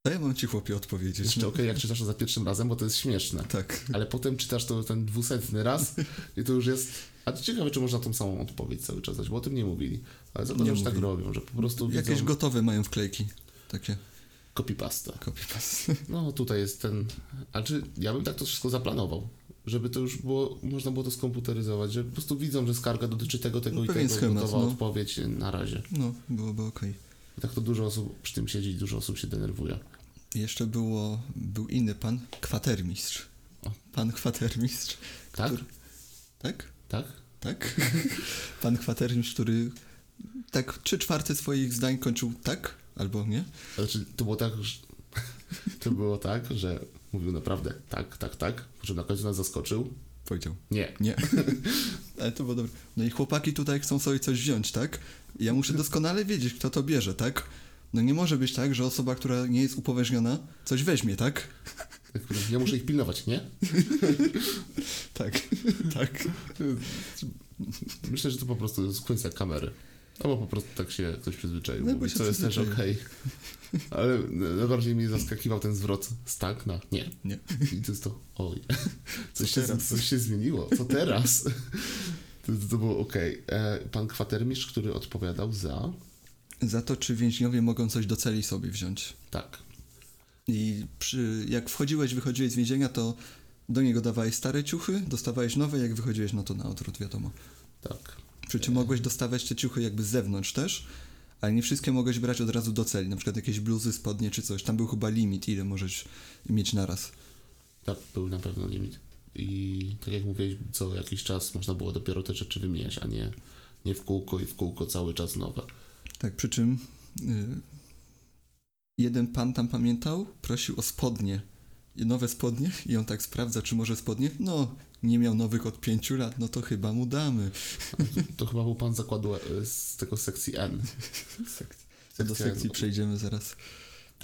To ja mam ci chłopie odpowiedzieć. Jeszcze okej, No, jak czytasz to za pierwszym razem, bo to jest śmieszne. tak. Ale potem czytasz to ten dwusetny raz i to już jest... A to ciekawe, czy można tą samą odpowiedź cały czas dać, bo o tym nie mówili. Ale Nie zakładam, że tak mówili. robią, że po prostu widzą Jakieś gotowe mają wklejki. Takie copy-pastę. copy-paste. No tutaj jest ten. A czy ja bym tak to wszystko zaplanował? Żeby to już było, można było to skomputeryzować, że po prostu widzą, że skarga dotyczy tego, tego No, i pewien tego, schemat, gotowa no. odpowiedź na razie. No, byłoby okej. I tak to dużo osób przy tym siedzi i dużo osób się denerwuje. Jeszcze było, był inny pan, kwatermistrz. O. Pan kwatermistrz. Tak? Który, tak? Tak? Tak? pan kwatermistrz, który tak trzy czwarte swoich zdań kończył tak albo nie. Znaczy, to było tak, że, to było tak, że mówił naprawdę tak, tak, tak, po czym na końcu nas zaskoczył. Powiedział. Nie. Nie. Ale to było dobre. No i chłopaki tutaj chcą sobie coś wziąć, tak? Ja muszę doskonale wiedzieć, kto to bierze, tak? No nie może być tak, że osoba, która nie jest upoważniona, coś weźmie, tak? Tak, Ja muszę ich pilnować, nie? Tak, tak. Myślę, że to po prostu jest kwestia kamery. Albo po prostu tak się ktoś przyzwyczaił. No, bo mówi, się co jest też przyzwyczaił. okej. Ale najbardziej mnie zaskakiwał ten zwrot z tak na nie. Nie. I to jest to, oj, coś, się, teraz? coś się zmieniło. Co teraz? To, to było okej. E, Pan kwatermistrz, który odpowiadał za... Za to, czy więźniowie mogą coś do celi sobie wziąć. Tak. I przy, jak wchodziłeś, wychodziłeś z więzienia, to do niego dawałeś stare ciuchy, dostawałeś nowe, jak wychodziłeś, no to na odwrót, wiadomo. Tak. Przy czym mogłeś dostawać te ciuchy jakby z zewnątrz też, ale nie wszystkie mogłeś brać od razu do celi, na przykład jakieś bluzy, spodnie czy coś. Tam był chyba limit, ile możesz mieć naraz. Tak, był na pewno limit. I tak jak mówiłeś, co jakiś czas można było dopiero te rzeczy wymieniać, a nie, nie w kółko i w kółko cały czas nowe. Tak, przy czym y, jeden pan tam pamiętał, prosił o spodnie, I nowe spodnie i on tak sprawdza, czy może spodnie. No, nie miał nowych od pięciu lat, no to chyba mu damy. To chyba był pan zakładu e, z tego sekcji N. Co do sekcji przejdziemy zaraz.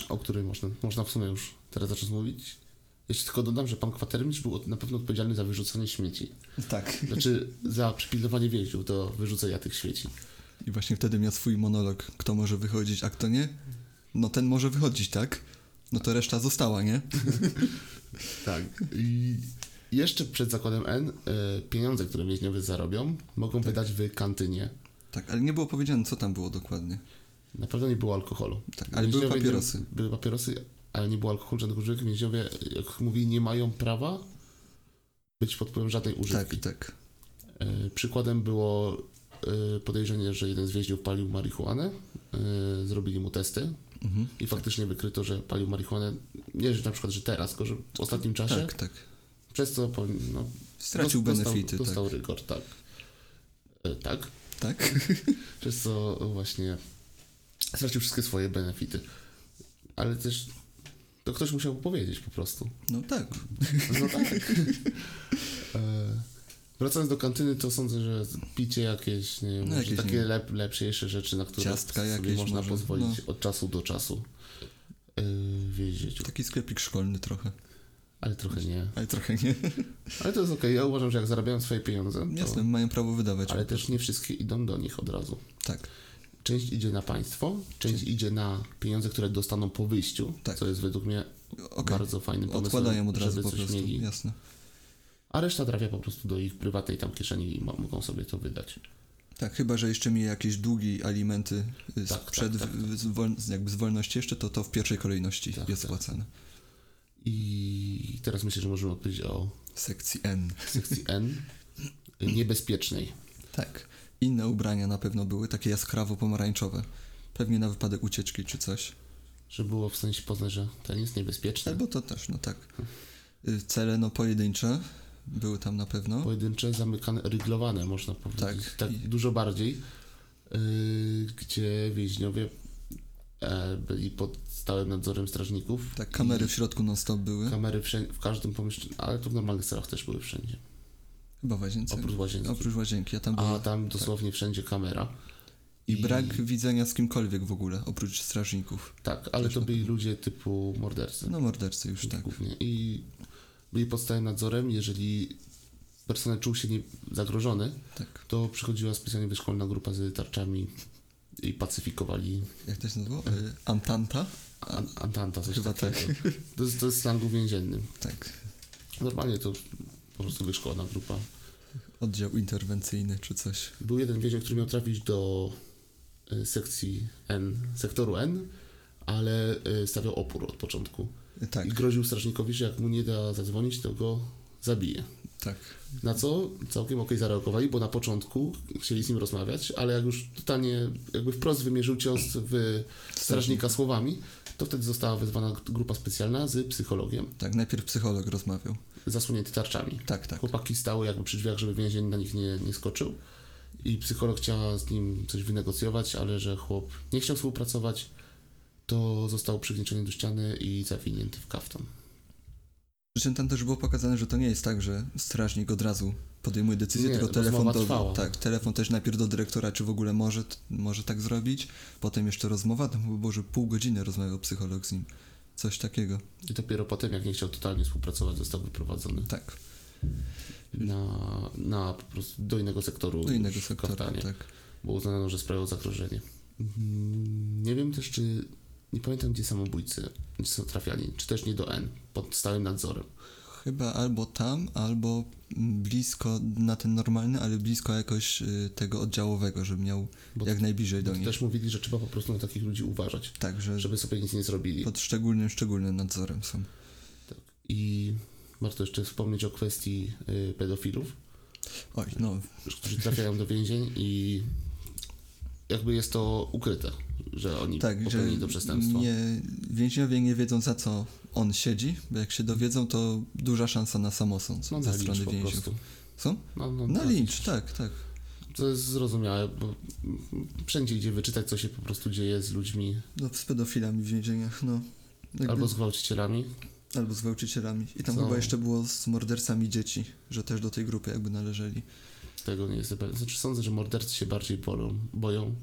o której można, można w sumie już teraz zacząć mówić. Jeszcze tylko dodam, że pan kwatermistrz był od- na pewno odpowiedzialny za wyrzucanie śmieci. Tak. Znaczy za przypilnowanie więźniów do wyrzucenia tych śmieci. I właśnie wtedy miał swój monolog, kto może wychodzić, a kto nie. No ten może wychodzić, tak? No to reszta została, nie? Tak. I jeszcze przed zakładem N e, pieniądze, które więźniowie zarobią, mogą wydać w kantynie. Tak, ale nie było powiedziane, co tam było dokładnie. Na pewno nie było alkoholu. Tak, ale były Więźniowie nie- papierosy. były papierosy, ale nie było alkoholu, żadnych używek. Więźniowie, jak mówi, nie mają prawa być pod wpływem żadnej używki. Tak, tak. E, Przykładem było e, podejrzenie, że jeden z więźniów palił marihuanę. E, Zrobili mu testy Mhm. i faktycznie wykryto, że palił marihuanę. Nie, że na przykład, że teraz, tylko że w ostatnim czasie. Tak, tak. Przez co po- no, Stracił dos- benefity, Dostał, dostał rygor, tak. E, Tak. tak. Przez co właśnie stracił wszystkie swoje benefity. Ale też to ktoś tak. musiał powiedzieć po prostu. No tak. No tak. E, Wracając do kantyny, to sądzę, że picie jakieś, nie wiem, No, może jakieś, takie nie wiem. lep, lepszejsze rzeczy, na które Ciastka sobie jakieś można może, No. pozwolić od czasu do czasu yy, w jej życiu. Taki sklepik szkolny trochę, Ale trochę nie. ale trochę nie. Ale to jest okej. Ja uważam, że jak zarabiają swoje pieniądze, to... Jasne, mają prawo wydawać. ale też nie wszystkie idą do nich od razu. Tak, Część idzie na państwo, część idzie na pieniądze, które dostaną po wyjściu, Tak. co jest według mnie okej. bardzo fajnym pomysłem, Odkładają od razu żeby po coś prostu, mieli. jasne. A reszta trafia po prostu do ich prywatnej tam kieszeni i mo- mogą sobie to wydać. Tak, chyba, że jeszcze mi jakieś długi alimenty y, Tak, tak, przed tak, w- z wol- z- jakby z wolności jeszcze, to to w pierwszej kolejności Tak, jest tak. spłacane. I teraz myślę, że możemy odpowiedzieć o Sekcji N. sekcji N niebezpiecznej. Tak. Inne ubrania na pewno były, takie jaskrawo-pomarańczowe. Pewnie na wypadek ucieczki czy coś. Że było w sensie poznać, że ten jest niebezpieczny. Albo to też, no tak. Y, Cele no pojedyncze były tam na pewno. Pojedyncze, zamykane, ryglowane można powiedzieć. Tak. Tak, tak I- dużo bardziej. Yy, gdzie więźniowie e, byli pod stałym nadzorem strażników. Tak, kamery I w środku non-stop były. Kamery wszędzie, w każdym pomieszczeniu, ale to w normalnych celach też były wszędzie. Chyba w łazience. Oprócz łazienki. Tak. Oprócz łazienki, ja tam A byłem. tam dosłownie wszędzie kamera. I i- brak widzenia z kimkolwiek w ogóle, oprócz strażników. Tak, ale Też to na byli ludzie typu mordercy. No mordercy już tak. Głównie. I byli pod stałym nadzorem. Jeżeli personel czuł się nie zagrożony, Tak. to przychodziła specjalnie wyszkolna grupa z tarczami i pacyfikowali Jak to się nazywało? Y, Antanta? an- Antanta, coś Chyba takiego. To jest, to jest slangu więziennym. Tak. Normalnie to po prostu wyszkolona grupa. Oddział interwencyjny czy coś. Był jeden więzień, który miał trafić do y, sekcji N, sektoru N, ale y, stawiał opór od początku. Y, Tak, I groził strażnikowi, że jak mu nie da zadzwonić, to go zabije. tak. Na co całkiem okej zareagowali, bo na początku chcieli z nim rozmawiać, ale jak już totalnie jakby wprost wymierzył cios w strażnika słowami, to wtedy została wezwana grupa specjalna z psychologiem, Tak, najpierw psycholog rozmawiał. zasłonięty tarczami. Tak, tak. Chłopaki stały jakby przy drzwiach, żeby więzień na nich nie, nie skoczył i psycholog chciała z nim coś wynegocjować, ale że chłop nie chciał współpracować, to został przygnieciony do ściany i zawinięty w kaftan. Przy czym tam też było pokazane, że to nie jest tak, że strażnik od razu podejmuje decyzję, Nie, tylko telefon rozmowa do, trwała. tak, telefon też najpierw do dyrektora, czy w ogóle może, t- może tak zrobić, potem jeszcze rozmowa, tam chyba było, że pół godziny rozmawiał psycholog z nim. Coś takiego, I dopiero potem, jak nie chciał totalnie współpracować, został wyprowadzony. tak, na, na po prostu do innego sektoru. do innego już w sektora, Kaftanie, tak. Bo uznano, że sprawiał zagrożenie. Mm, Nie wiem też, czy. Nie pamiętam, gdzie samobójcy gdzie są trafiali. Czy też nie do N, pod stałym nadzorem. Chyba albo tam, albo mm, blisko na ten normalny, ale blisko jakoś y, tego oddziałowego, żeby miał Bo jak najbliżej do To nich. też mówili, że trzeba po prostu na takich ludzi uważać, Tak, że żeby sobie nic nie zrobili. pod szczególnym, szczególnym nadzorem są. I warto jeszcze wspomnieć o kwestii y, pedofilów, Oj, no, którzy trafiają do więzień i jakby jest to ukryte, że oni tak, że popełnili to przestępstwo. nie, więźniowie nie wiedzą za co on siedzi, bo jak się dowiedzą, to duża szansa na samosąd no, ze na strony lincz po więźniów. prostu. Co? No, no, Na tak. lincz, tak, tak. To jest zrozumiałe, bo wszędzie idzie wyczytać, co się po prostu dzieje z ludźmi No, z pedofilami w więzieniach, no. Jakby, albo z gwałcicielami. albo z gwałcicielami. I tam Co? chyba jeszcze było z mordercami dzieci, że też do tej grupy jakby należeli. Tego nie jestem pewien. Znaczy, sądzę, że mordercy się bardziej bolą, boją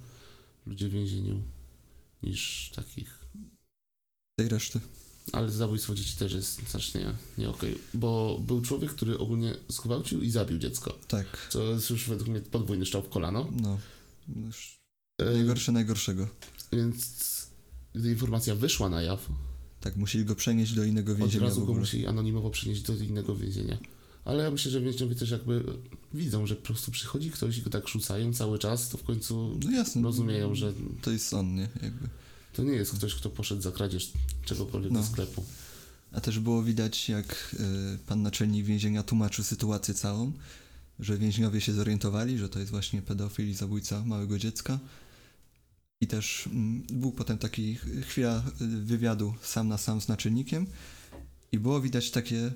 ludzie w więzieniu niż takich. Tej reszty. Ale zabójstwo dzieci też jest znacznie nie okej, bo był człowiek, który ogólnie zgwałcił i zabił dziecko, Tak, co jest już według mnie podwójny strzał w kolano. no. Już E, najgorsze najgorszego. Więc gdy informacja wyszła na jaw, Tak, musieli go przenieść do innego Od więzienia w razu go ogóle. musieli anonimowo przenieść do innego więzienia. Ale ja myślę, że więźniowie też jakby widzą, że po prostu przychodzi ktoś i go tak rzucają cały czas, to w końcu No jasne. rozumieją, że To jest on, nie? Jakby. to nie jest ktoś, kto poszedł za kradzież czegokolwiek No. do sklepu. A też było widać, jak y, pan naczelnik więzienia tłumaczył sytuację całą, że więźniowie się zorientowali, że to jest właśnie pedofil i zabójca małego dziecka. I też mm, był potem taki ch- chwila y, wywiadu sam na sam z naczelnikiem i było widać takie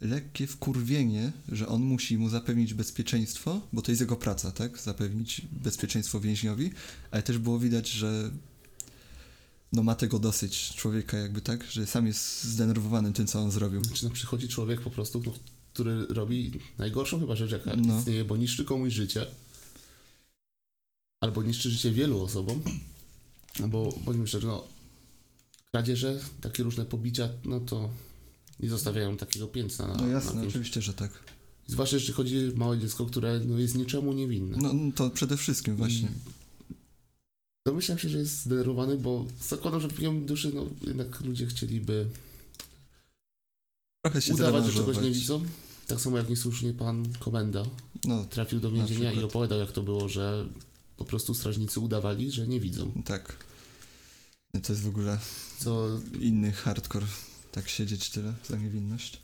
lekkie wkurwienie, że on musi mu zapewnić bezpieczeństwo, bo to jest jego praca, tak? Zapewnić bezpieczeństwo więźniowi, ale też było widać, że no ma tego dosyć człowieka jakby tak, że sam jest zdenerwowany tym, co on zrobił. Znaczy no, przychodzi człowiek po prostu, no, który robi najgorszą chyba rzecz, jaka No. istnieje, bo niszczy komuś życie. Albo niszczy życie wielu osobom. No Bo bądźmy szczerzy, no, kradzieże, takie różne pobicia, no to nie zostawiają takiego piętna na, No jasne, na kimś. oczywiście, że tak. Zwłaszcza jeśli chodzi o małe dziecko, które no, jest niczemu niewinne. No no to przede wszystkim właśnie. Domyślam się, że jest zdenerwowany, bo zakładam, że w jego duszy no, jednak ludzie chcieliby Trochę się udawać, że czegoś nie zrewanżować. widzą. Tak samo jak niesłusznie pan komenda No trafił do Na więzienia i przykład. opowiadał, jak to było, że po prostu strażnicy udawali, że nie widzą. tak. To jest w ogóle Co inny hardcore. Tak siedzieć tyle za niewinność.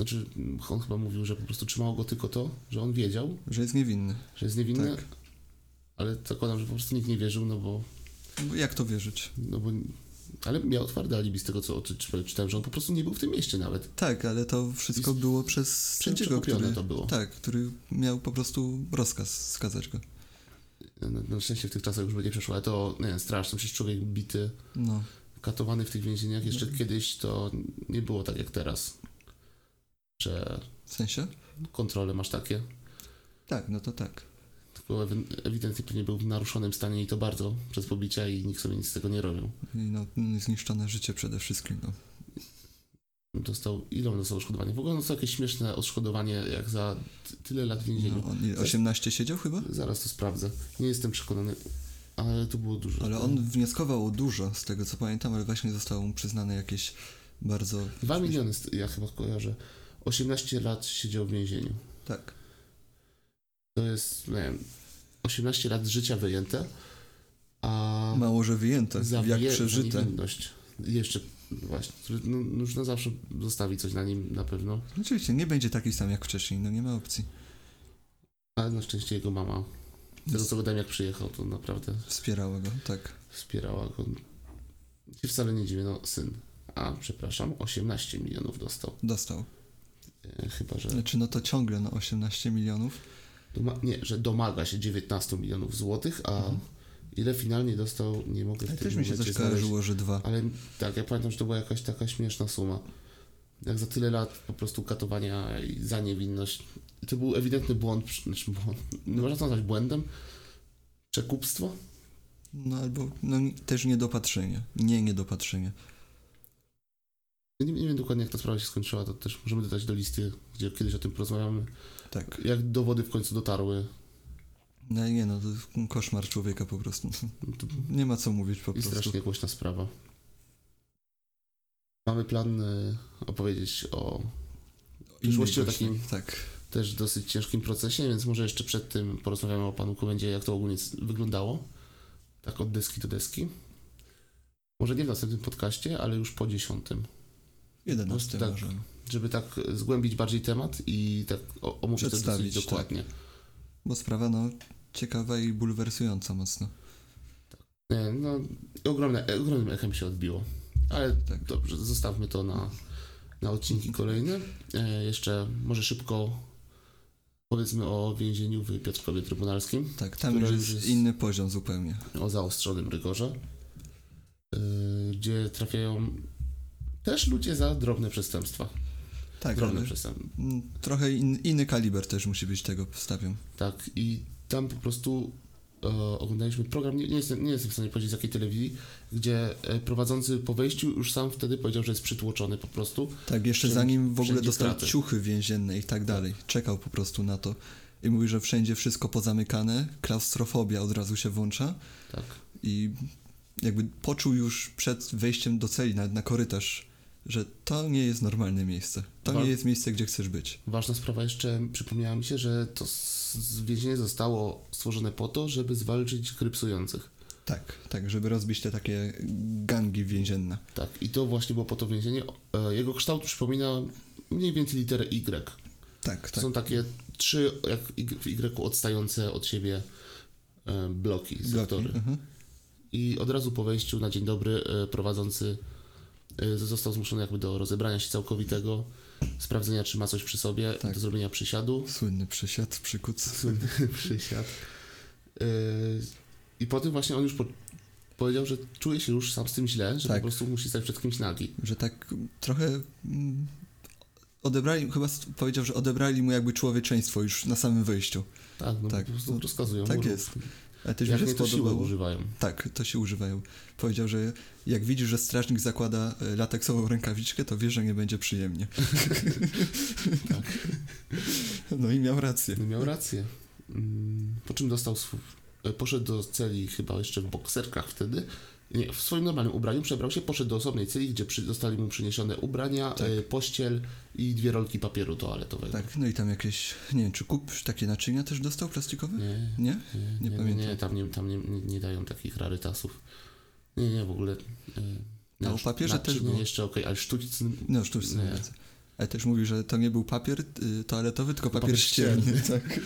znaczy, on chyba mówił, że po prostu trzymało go tylko to, że on wiedział, Że jest niewinny. że jest niewinny, Tak. ale zakładam, że po prostu nikt nie wierzył, no bo Bo Jak to wierzyć? No bo, ale miał twarde alibi z tego, co czy- czy- czytałem, że on po prostu nie był w tym mieście nawet. Tak, ale to wszystko Jest było przez sędziego, przekupione który, to było. Tak, który miał po prostu rozkaz skazać go. Na, na szczęście w tych czasach już by nie przeszło, ale to, nie wiem, straszne, przecież człowiek bity, No, katowany w tych więzieniach, jeszcze Mhm. kiedyś to nie było tak jak teraz, że w sensie? kontrole masz takie, Tak, no to tak. tylko ew- ewidentnie pewnie był w naruszonym stanie i to bardzo przez pobicia i nikt sobie nic z tego nie robił. I no, zniszczone życie przede wszystkim, no. Dostał, ile on dostał odszkodowanie? W ogóle dostał jakieś śmieszne odszkodowanie, jak za ty- tyle lat w więzieniu. no on ile, 18 siedział chyba? Zaraz to sprawdzę. Nie jestem przekonany, ale to było dużo. Ale on wnioskował o dużo, z tego co pamiętam, ale właśnie zostało mu przyznane jakieś bardzo... 2 miliony, st- ja chyba kojarzę. 18 lat siedział w więzieniu. Tak. To jest, nie wiem, 18 lat życia wyjęte, a Mało, że wyjęte, tak, jak wie- przeżyte. niewinność. Jeszcze, właśnie, który, no, już na zawsze zostawi coś na nim na pewno, Oczywiście, nie będzie taki sam jak wcześniej, no nie ma opcji. ale na szczęście jego mama, z tego co wydałem jak przyjechał, to naprawdę Wspierało go, tak. wspierała go. Się wcale nie dziwię, no syn. A, przepraszam, 18 milionów dostał. Dostał. E, chyba, że... Znaczy, no to ciągle, no 18 milionów. Doma- nie, że domaga się 19 milionów złotych, a ile finalnie dostał, nie mogę w Ale tym Mhm. też mi się momencie coś znaleźć. kojarzyło, że dwa. Ale tak, ja pamiętam, że to była jakaś taka śmieszna suma. Jak za tyle lat po prostu katowania i za niewinność. To był ewidentny błąd, przy- znaczy błąd, nie można to nazwać błędem, przekupstwo. No albo no, ni- też niedopatrzenie. Nie niedopatrzenie. Nie, nie wiem dokładnie jak ta sprawa się skończyła, to też możemy dodać do listy, gdzie kiedyś o tym porozmawiamy. Tak. Jak dowody w końcu dotarły. No nie no, to koszmar człowieka po prostu. To Nie ma co mówić po I prostu. strasznie głośna sprawa. Mamy plan y, opowiedzieć o przyszłości o Innej takim gości. Tak. też dosyć ciężkim procesie, więc może jeszcze przed tym porozmawiamy o panu Komendzie, jak to ogólnie s- wyglądało. Tak od deski do deski. Może nie w następnym podcaście, ale już po dziesiątym. 11 Tak. może. Żeby tak y, zgłębić bardziej temat i tak o- omówić to dosyć Przedstawić, tak. dokładnie. Bo sprawa no ciekawa i bulwersująca mocno. Nie, No, ogromne, ogromnym echem się odbiło. Ale Tak. dobrze, zostawmy to na, na odcinki kolejne. E, jeszcze może szybko powiedzmy o więzieniu w Piotrkowie Trybunalskim, Tak, tam Która już już jest, jest- inny poziom zupełnie. o zaostrzonym rygorze, e, gdzie trafiają też ludzie za drobne przestępstwa. Tak, Drobne ale, przestępstwa. mm, trochę in, inny kaliber też musi być tego, stawiam. Tak, i tam po prostu e, oglądaliśmy program, nie, nie, jestem, nie jestem w stanie powiedzieć z jakiej telewizji, gdzie e, prowadzący po wejściu już sam wtedy powiedział, że jest przytłoczony po prostu. Tak, jeszcze Wszędzie- zanim w ogóle wszędzie dostał kraty. ciuchy więzienne i tak dalej. Czekał po prostu na to. I mówi, że wszędzie wszystko pozamykane, klaustrofobia od razu się włącza Tak. i jakby poczuł już przed wejściem do celi, nawet na korytarz, że to nie jest normalne miejsce. To Wa- nie jest miejsce, gdzie chcesz być. Ważna sprawa jeszcze, przypomniała mi się, że to s- s- więzienie zostało stworzone po to, żeby zwalczyć grypsujących. Tak, tak, żeby rozbić te takie gangi więzienne. Tak, i to właśnie było po to więzienie. E, Jego kształt przypomina mniej więcej literę Y. Tak, To tak. Są takie trzy, jak y, w Y odstające od siebie e, bloki, sektory. Mhm. I od razu po wejściu na dzień dobry e, prowadzący e, został zmuszony jakby do rozebrania się całkowitego, sprawdzenia czy ma coś przy sobie, Tak. do zrobienia przysiadu. Słynny przysiad, przykuc. słynny przysiad. Yy, I po tym właśnie on już po, powiedział, że czuje się już sam z tym źle, że Tak. po prostu musi stać przed kimś nagi. Że tak trochę tak mm, odebrali, chyba s- powiedział, że odebrali mu jakby człowieczeństwo już na samym wyjściu. Tak, no Tak. po prostu rozkazują. Tak rób. jest. Ale też mi Jak się nie to siły spodobało. używają. Tak, to się używają. Powiedział, że jak widzisz, że strażnik zakłada e, lateksową rękawiczkę, to wiesz, że nie będzie przyjemnie. Tak. No i miał rację. No miał rację. Mm, Po czym dostał swój... e, Poszedł do celi chyba jeszcze w bokserkach wtedy. Nie, w swoim normalnym ubraniu przebrał się, poszedł do osobnej celi, gdzie przy, zostali mu przyniesione ubrania, e, pościel i dwie rolki papieru toaletowego. Tak, no i tam jakieś, nie wiem, czy kup takie naczynia też dostał plastikowe? Nie, Nie? Nie pamiętam. Nie, tam, nie, tam nie, nie, nie dają takich rarytasów. Nie, nie, w ogóle... e, No, na- w papierze na- też czy nie, było. jeszcze okej, ale e, sztućcy... No sztuczne Nie. ręce. Ale też mówi, że to nie był papier y, toaletowy, tylko papier, Papier ścierny. ścierny. Tak.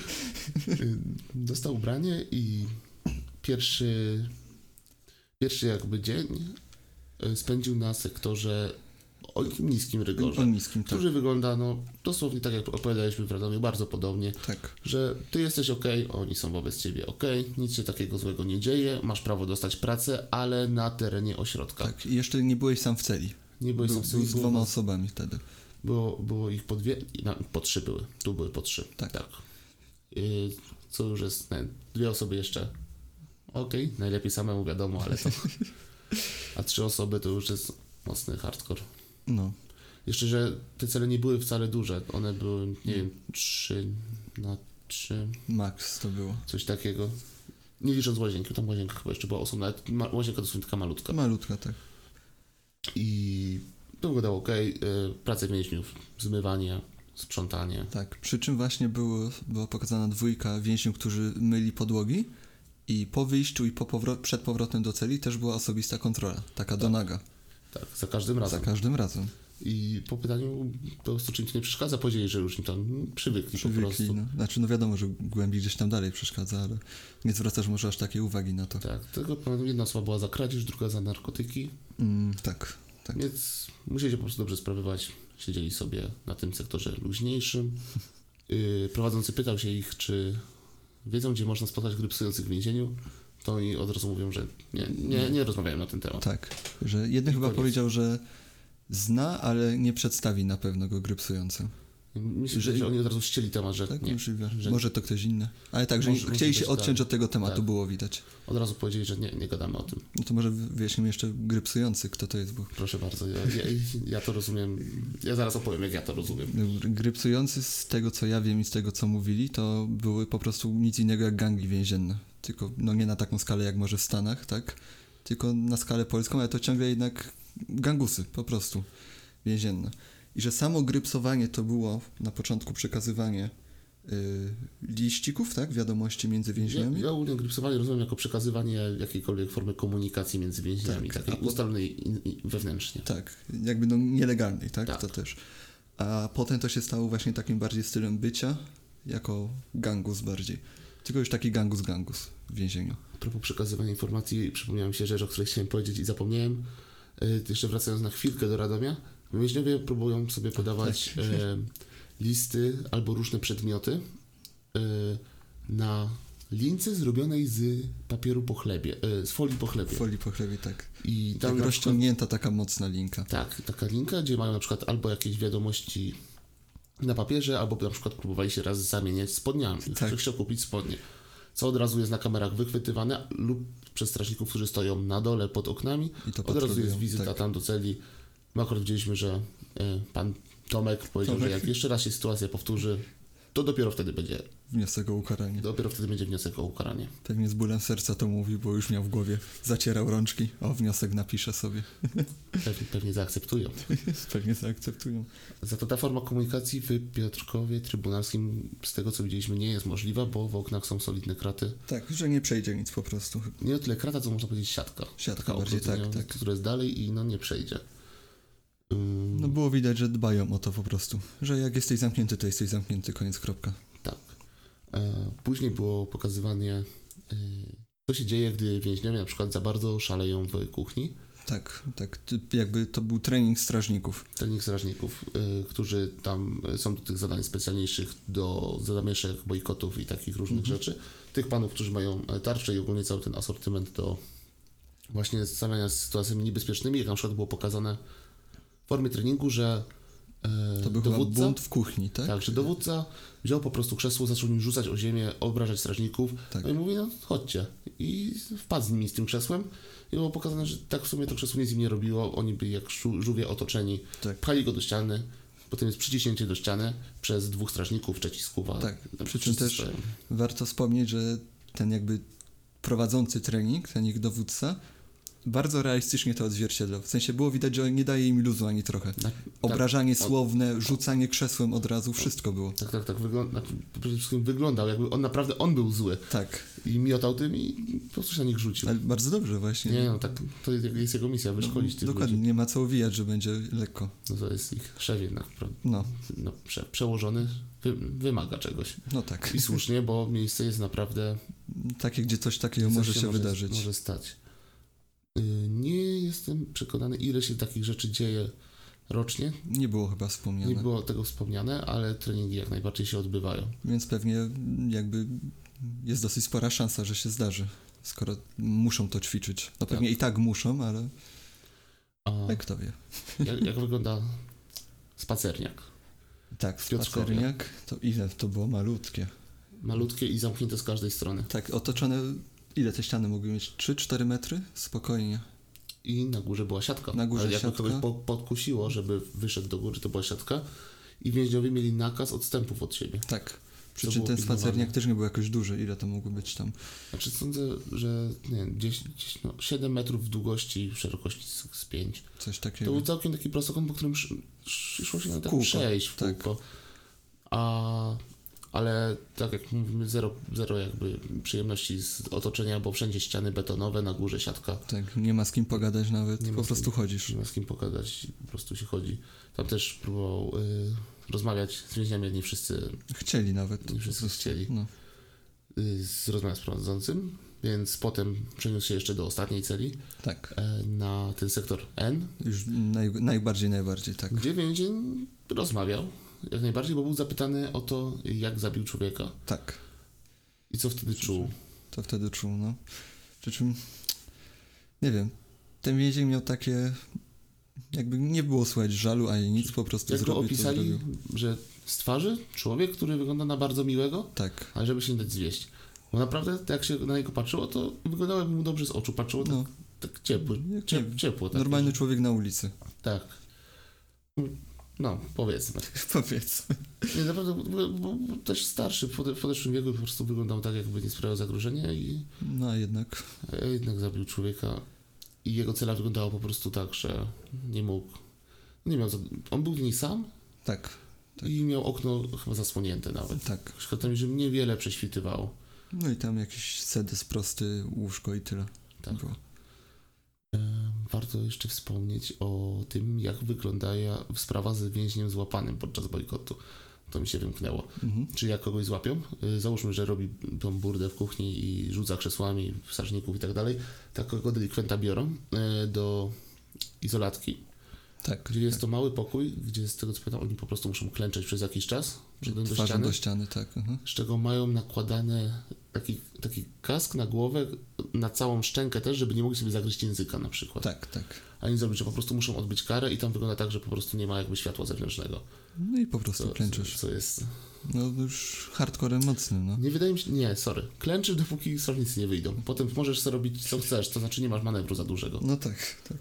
Y, Dostał ubranie i pierwszy, pierwszy jakby dzień y, spędził na sektorze o niskim O rygorze, niskim, tak. który wygląda no, dosłownie tak jak opowiadaliśmy w Radomiu, bardzo podobnie, tak. że ty jesteś ok, oni są wobec ciebie ok, nic się takiego złego nie dzieje, masz prawo dostać pracę, ale na terenie ośrodka. Tak. I jeszcze nie byłeś sam w celi. Nie byłeś Był, sam w celi, był z było- dwoma osobami wtedy. było, było ich po dwie, na, po trzy były, tu były po trzy. Tak. Y, co już jest, ne, dwie osoby jeszcze. Okej, najlepiej samemu wiadomo, ale to. A trzy osoby to już jest mocny hardcore. No. Jeszcze, że te cele nie były wcale duże. One były, nie wiem, trzy na trzy, Max to było. coś takiego. Nie licząc łazienki, tam łazienka chyba jeszcze była osobna, ale ma, łazienka to taka malutka. Malutka, tak. I to wyglądało ok. Pracę więźniów, zmywanie, sprzątanie. Tak, przy czym właśnie było, była pokazana dwójka więźniów, którzy myli podłogi i po wyjściu i po powro- przed powrotem do celi też była osobista kontrola, taka donaga, Tak, za każdym razem. za każdym razem. I po pytaniu po prostu czym ci nie przeszkadza, powiedzieli, że już im tam przywykli, po Przywykli, prostu. no. Znaczy, no wiadomo, że głębiej gdzieś tam dalej przeszkadza, ale nie zwracasz może aż takiej uwagi na to. Tak, tylko powiem, jedna osoba była za kradzież, druga za narkotyki, Mm, tak, tak. więc musieli się po prostu dobrze sprawować. Siedzieli sobie na tym sektorze luźniejszym. Yy, prowadzący pytał się ich, czy wiedzą, gdzie można spotkać gry psujących w więzieniu. To oni od razu mówią, że nie, nie, nie rozmawiają na ten temat. Tak, że jeden chyba koniec. powiedział, że zna, ale nie przedstawi na pewno go gry psujący. Myślę, że, Że- że oni od razu ścięli temat, że Tak, nie. możliwe. Że- Może to ktoś inny. Ale tak, że Może- może chcieli się też odciąć tak. od tego tematu, Tak. było widać. Od razu powiedzieli, że nie, nie gadamy o tym. No to może wyjaśnimy jeszcze gry psujący, kto to jest, bo Proszę bardzo, ja, ja, ja to rozumiem. Ja zaraz opowiem, jak ja to rozumiem. Gry psujący, z tego co ja wiem i z tego co mówili, to były po prostu nic innego jak gangi więzienne. Tylko, no nie na taką skalę jak może w Stanach, tak? Tylko na skalę polską, ale to ciągle jednak gangusy, po prostu więzienne. I że samo grypsowanie to było na początku przekazywanie y, liścików, tak? Wiadomości między Ja, więźniami. ja ogólnie grypsowanie rozumiem jako przekazywanie jakiejkolwiek formy komunikacji między więźniami, Tak, takiej a po- ustalonej in, in, wewnętrznie. Tak, jakby no nielegalnej, tak? Tak. To też. A potem to się stało właśnie takim bardziej stylem bycia, jako gangus bardziej. Tylko już taki gangus gangus w więzieniu. A propos przekazywania informacji, przypomniałem się rzecz, o której chciałem powiedzieć i zapomniałem. E, Jeszcze wracając na chwilkę do Radomia, więźniowie próbują sobie podawać e, listy albo różne przedmioty e, na lince zrobionej z papieru po chlebie, e, z folii po W chlebie. folii po chlebie, tak. I Tak na przykład- rozciągnięta taka mocna linka. Tak, taka linka, gdzie mają na przykład albo jakieś wiadomości na papierze, albo na przykład próbowali się raz zamieniać spodniami. Tak. Tak. Chciał kupić spodnie. Co od razu jest na kamerach wychwytywane lub przez strażników, którzy stoją na dole pod oknami. I to od razu patrolują, jest wizyta tak. tam do celi. My akurat widzieliśmy, że e, pan Tomek powiedział, Tomek. że jak jeszcze raz się sytuacja powtórzy, to dopiero wtedy będzie, Wniosek o ukaranie. dopiero wtedy będzie wniosek o ukaranie. Pewnie z bólem serca to mówi, bo już miał w głowie. Zacierał rączki. O, wniosek napiszę sobie. Pewnie, pewnie zaakceptują. Pewnie zaakceptują. Za to ta forma komunikacji w Piotrkowie Trybunalskim, z tego co widzieliśmy, nie jest możliwa, bo w oknach są solidne kraty. Tak, że nie przejdzie nic po prostu. Nie tyle krata, co można powiedzieć siatka. Siatka Taka bardziej, tak, ogrodzenia, tak. Która jest dalej i no nie przejdzie. Ym, No było widać, że dbają o to po prostu. Że jak jesteś zamknięty, to jesteś zamknięty, koniec, kropka. tak. E, później było pokazywanie, y, co się dzieje, gdy więźniowie na przykład za bardzo szaleją w kuchni. Tak, tak. Ty- Jakby to był trening strażników. Trening strażników, y, którzy tam y, są do tych zadań specjalniejszych, do zamieszek, bojkotów i takich różnych Mhm. rzeczy. Tych panów, którzy mają e, tarcze i ogólnie cały ten asortyment do właśnie stawiania z sytuacjami niebezpiecznymi, jak na przykład było pokazane w formie treningu, że e, To był chyba dowódca. bunt w kuchni, tak? Tak, że dowódca wziął po prostu krzesło, zaczął nim rzucać o ziemię, obrażać strażników. Tak. No i mówi, no chodźcie. I wpadł z nimi z tym krzesłem. I było pokazane, że tak w sumie to krzesło nic z nim nie robiło. Oni byli jak żu- żółwie otoczeni. Tak. Pchali go do ściany. Potem jest przyciśnięcie do ściany przez dwóch strażników, trzeci skuwa. Tak, No, przy czym wszyscy też stoją. warto wspomnieć, że ten jakby prowadzący trening, ten ich dowódca, bardzo realistycznie to odzwierciedlał. W sensie było widać, że nie daje im luzu ani trochę. Tak, Obrażanie słowne, rzucanie krzesłem od razu, wszystko było. Tak, tak, tak. Wygląda, przede wszystkim wyglądał, jakby on naprawdę, on był zły. Tak, I miotał tym i po prostu się na nich rzucił. ale bardzo dobrze właśnie. No, Nie no, tak, to jest- jest jego misja, wyszkolić tych Dokładnie, ludzi. nie ma co owijać, że będzie lekko. No to jest ich szef jednak, prawda? No, no, prze, przełożony wy, wymaga czegoś. no tak. I słusznie, bo miejsce jest naprawdę. Takie, gdzie coś takiego może coś się wydarzyć. Może stać. Y, Nie jestem przekonany, ile się takich rzeczy dzieje rocznie. Nie było chyba Nie wspomniane. było tego wspomniane, ale treningi jak najbardziej się odbywają. Więc pewnie jakby jest dosyć spora szansa, że się zdarzy, skoro muszą to ćwiczyć. No pewnie i tak No. muszą, ale A jak kto wie. jak, jak wygląda spacerniak? Tak, Piotrkowie. spacerniak, to ile to było malutkie. Malutkie i zamknięte z każdej strony. Tak, otoczone, ile te ściany mogły mieć? 3-4 metry? Spokojnie. I na górze była siatka. Na górze ale jakby siatka. kogoś po, podkusiło, żeby wyszedł do góry, to była siatka. I więźniowie mieli nakaz odstępów od siebie. Tak. Przy Co czym było ten pilnowane. spacerniak też nie był jakoś duży, ile to mogło być tam. Znaczy sądzę, że nie wiem, 10, 10, no, 7 metrów w długości i w szerokości z, z 5. Coś To takiego. był całkiem taki prostokąt, po którym sz, sz, szło się na tak Kółko, przejść w tak. kółko. A, ale tak jak mówimy, zero, zero jakby przyjemności z otoczenia, bo wszędzie ściany betonowe, na górze siatka. Tak, nie ma z kim pogadać nawet, Nie ma po z prostu kim. chodzisz. Nie ma z kim pogadać, po prostu się chodzi. Tam też próbował y, rozmawiać z więźniami, ale nie wszyscy, Chcieli nawet. nie wszyscy chcieli. No, Y, z rozmawiał z prowadzącym, więc potem przeniósł się jeszcze do ostatniej celi. tak. e, na ten sektor N, Już naj, najbardziej, najbardziej, tak. gdzie więzień rozmawiał jak najbardziej, bo był zapytany o to, jak zabił człowieka Tak. i co wtedy czuł. To wtedy czuł, no. Przy czym, nie wiem, ten więzień miał takie, jakby nie było słychać żalu ani nic, po prostu Jak go zrobił to opisali, zrobił. że z twarzy człowiek, który wygląda na bardzo miłego, Tak, ale żeby się nie dać zwieść. Bo naprawdę, jak się na niego patrzyło, to wyglądało jakby mu dobrze z oczu patrzyło, tak, no, tak ciepło, Jak nie ciep, wiem, ciepło. Tak, normalny człowiek na ulicy, Tak. No, powiedzmy. powiedzmy. Nie, naprawdę, bo, bo, bo też starszy, w pode- w podeszłym wieku po prostu wyglądał tak, jakby nie sprawiał zagrożenia i No a jednak, A E, jednak zabił człowieka i jego cela wyglądała po prostu tak, że nie mógł. Nie miał. Za... On był w niej sam tak, Tak. i miał okno chyba zasłonięte nawet. tak. Szkoda mi, że niewiele prześwitywało. No i tam jakiś sedes prosty, łóżko i tyle Tak. było. Em, E, Warto jeszcze wspomnieć o tym, jak wygląda ja- sprawa z więźniem złapanym podczas bojkotu. To mi się wymknęło. Mhm. Czy jak kogoś złapią? Y, Załóżmy, że robi tą burdę w kuchni i rzuca krzesłami, strażników i tak dalej. Takiego delikwenta biorą y, do izolatki. Tak, Gdzie jest to mały pokój, gdzie z tego co pamiętam, oni po prostu muszą klęczeć przez jakiś czas, przejdą do twarzą ściany, do ściany, tak. Mhm. z czego mają nakładane taki, taki kask na głowę, na całą szczękę też, żeby nie mogli sobie zagryźć języka na przykład. Tak, tak. A nie zrobić, że po prostu muszą odbyć karę i tam wygląda tak, że po prostu nie ma jakby światła zewnętrznego. No i po prostu Co, klęczysz. co jest... No już hardcorem mocnym, no. Nie wydaje mi się... Nie, sorry. Klęczysz, dopóki strażnicy nie wyjdą. Potem możesz sobie robić co chcesz, to znaczy nie masz manewru za dużego. No tak, tak.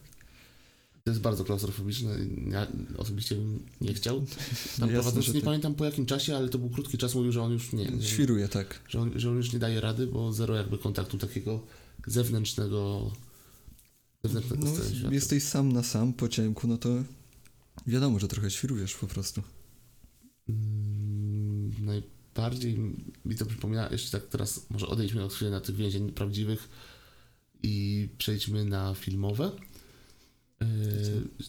To jest bardzo klaustrofobiczne. Ja osobiście bym nie chciał. No Tam jasne, prowadzący że nie tak. pamiętam po jakim czasie, ale to był krótki czas, mówił, że on już nie, że, Świruje, tak. że, on, że on już nie daje rady, bo zero jakby kontaktu takiego zewnętrznego zewnętrznego No, z tym światem. jesteś sam na sam po ciemku, no to wiadomo, że trochę świrujesz po prostu. Mm, Najbardziej mi to przypomina, jeszcze tak teraz może odejdźmy na chwilę na tych więzień prawdziwych i przejdźmy na filmowe. Yy,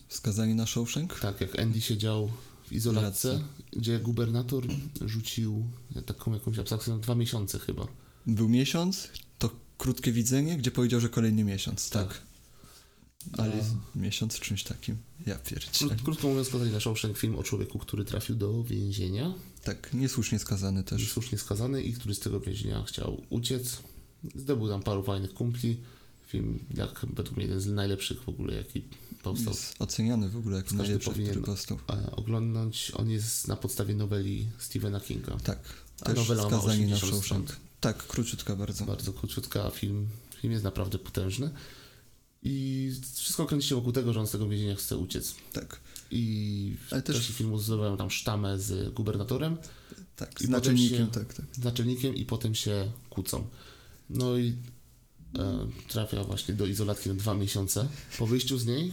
Skazani na Shawshank? Tak, jak Andy siedział w izolatce, Izolacja. gdzie gubernator rzucił taką jakąś abstrakcję na dwa miesiące chyba. Był miesiąc, to krótkie widzenie, gdzie powiedział, że kolejny miesiąc, tak. Tak. No. Ale A- miesiąc w czymś takim, ja pierdzielę. Krót, tak, krótko mówiąc, skazali na Shawshank film o człowieku, który trafił do więzienia, Tak, niesłusznie skazany też. słusznie skazany i który z tego więzienia chciał uciec. Zdobył tam paru fajnych kumpli. Film, jak według mnie jeden z najlepszych w ogóle, jaki powstał. Jest oceniany w ogóle jako Każdy najlepszy, powinien. który powstał. E, Oglądnąć, on jest na podstawie noweli Stephena Kinga. Tak, A też nowela ma skazani na 80 stron. Shawshank. Tak, króciutka bardzo. Bardzo króciutka, a film, film jest naprawdę potężny. I wszystko kręci się wokół tego, że on z tego więzienia chce uciec. Tak, I Ale w też- czasie filmu zdobywają tam sztamę z gubernatorem, tak, I z naczelnikiem, potem tak, tak. z naczelnikiem i potem się kłócą. No i e, trafia właśnie do izolatki na dwa miesiące. Po wyjściu z niej,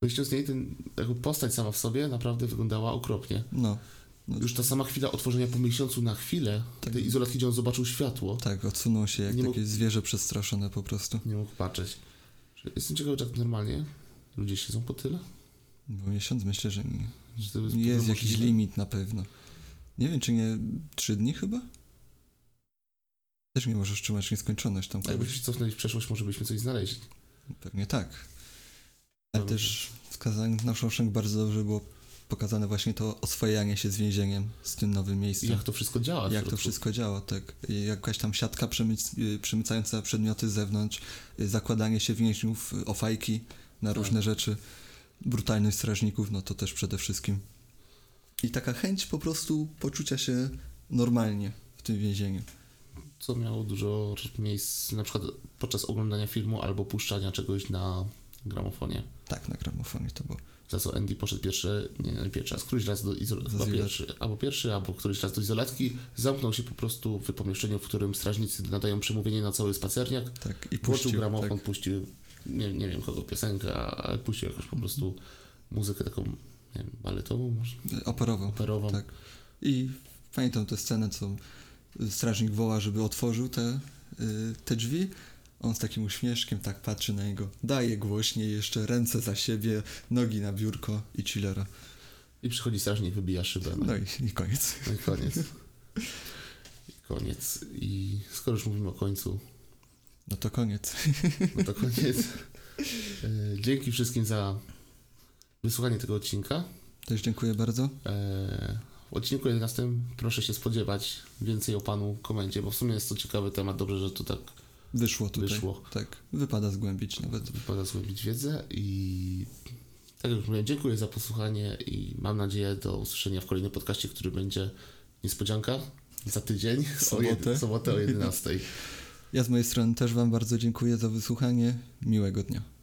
po wyjściu z niej ten, jakby postać sama w sobie naprawdę wyglądała okropnie. No, no Już ta sama chwila otworzenia po miesiącu na chwilę Tak. tej izolatki, gdzie on zobaczył światło, tak, odsunął się jak Nie mógł- takie zwierzę przestraszone po prostu. nie mógł patrzeć. Jestem ciekawy, czy tak normalnie ludzie siedzą po tyle? Bo miesiąc myślę, że nie. Czy to w ogóle Jest jakiś możliwe? limit na pewno. Nie wiem, czy nie trzy dni chyba? Też nie możesz trzymać nieskończoność tam Jakby kogoś. się cofnąć w przeszłość, może byśmy coś znaleźli. Pewnie tak. Ale Dobrze. też wskazany na Shawshank bardzo dobrze było pokazane właśnie to oswajanie się z więzieniem, z tym nowym I miejscem. jak to wszystko działa. w Jak to środku. wszystko działa, tak? I Jakaś tam siatka przemyc- y, przemycająca przedmioty z zewnątrz, y, zakładanie się więźniów y, o fajki na Tak. różne rzeczy, brutalność strażników, no to też przede wszystkim. I taka chęć po prostu poczucia się normalnie w tym więzieniu. co miało dużo miejsc na przykład podczas oglądania filmu albo puszczania czegoś na gramofonie. Tak, na gramofonie to było. Za co Andy poszedł pierwszy, nie, nie pierwszy raz, któryś raz do Do izolacji, izolacji. pierwszy, albo pierwszy, albo któryś raz do izolatki, zamknął się po prostu w pomieszczeniu, w którym strażnicy nadają przemówienie na cały spacerniak, Tak, i włączył puścił, gramofon, tak, puścił, nie, nie wiem kogo, piosenkę, a- ale puścił jakąś po prostu muzykę taką, nie wiem, baletową, może, Y, operował. operową. Tak. I pamiętam tę scenę, co strażnik woła, żeby otworzył te, y, te drzwi. On z takim uśmieszkiem tak patrzy na niego, daje głośniej jeszcze ręce za siebie, nogi na biurko i chillera. I przychodzi strażnik, wybija szybę. No i, i koniec. No i koniec. I koniec. I skoro już mówimy o końcu, No to koniec. no to koniec. E, Dzięki wszystkim za wysłuchanie tego odcinka. Też dziękuję bardzo. E, W odcinku 11 proszę się spodziewać więcej o panu komendzie, bo w sumie jest to ciekawy temat. Dobrze, że to tak Wyszło tutaj. Wyszło. Tak, wypada zgłębić nawet. wypada zgłębić wiedzę i tak jak już mówiłem, dziękuję za posłuchanie i mam nadzieję do usłyszenia w kolejnym podcaście, który będzie niespodzianka za tydzień, o jed- Sobotę. sobotę o 11. Ja z mojej strony też Wam bardzo dziękuję za wysłuchanie. Miłego dnia.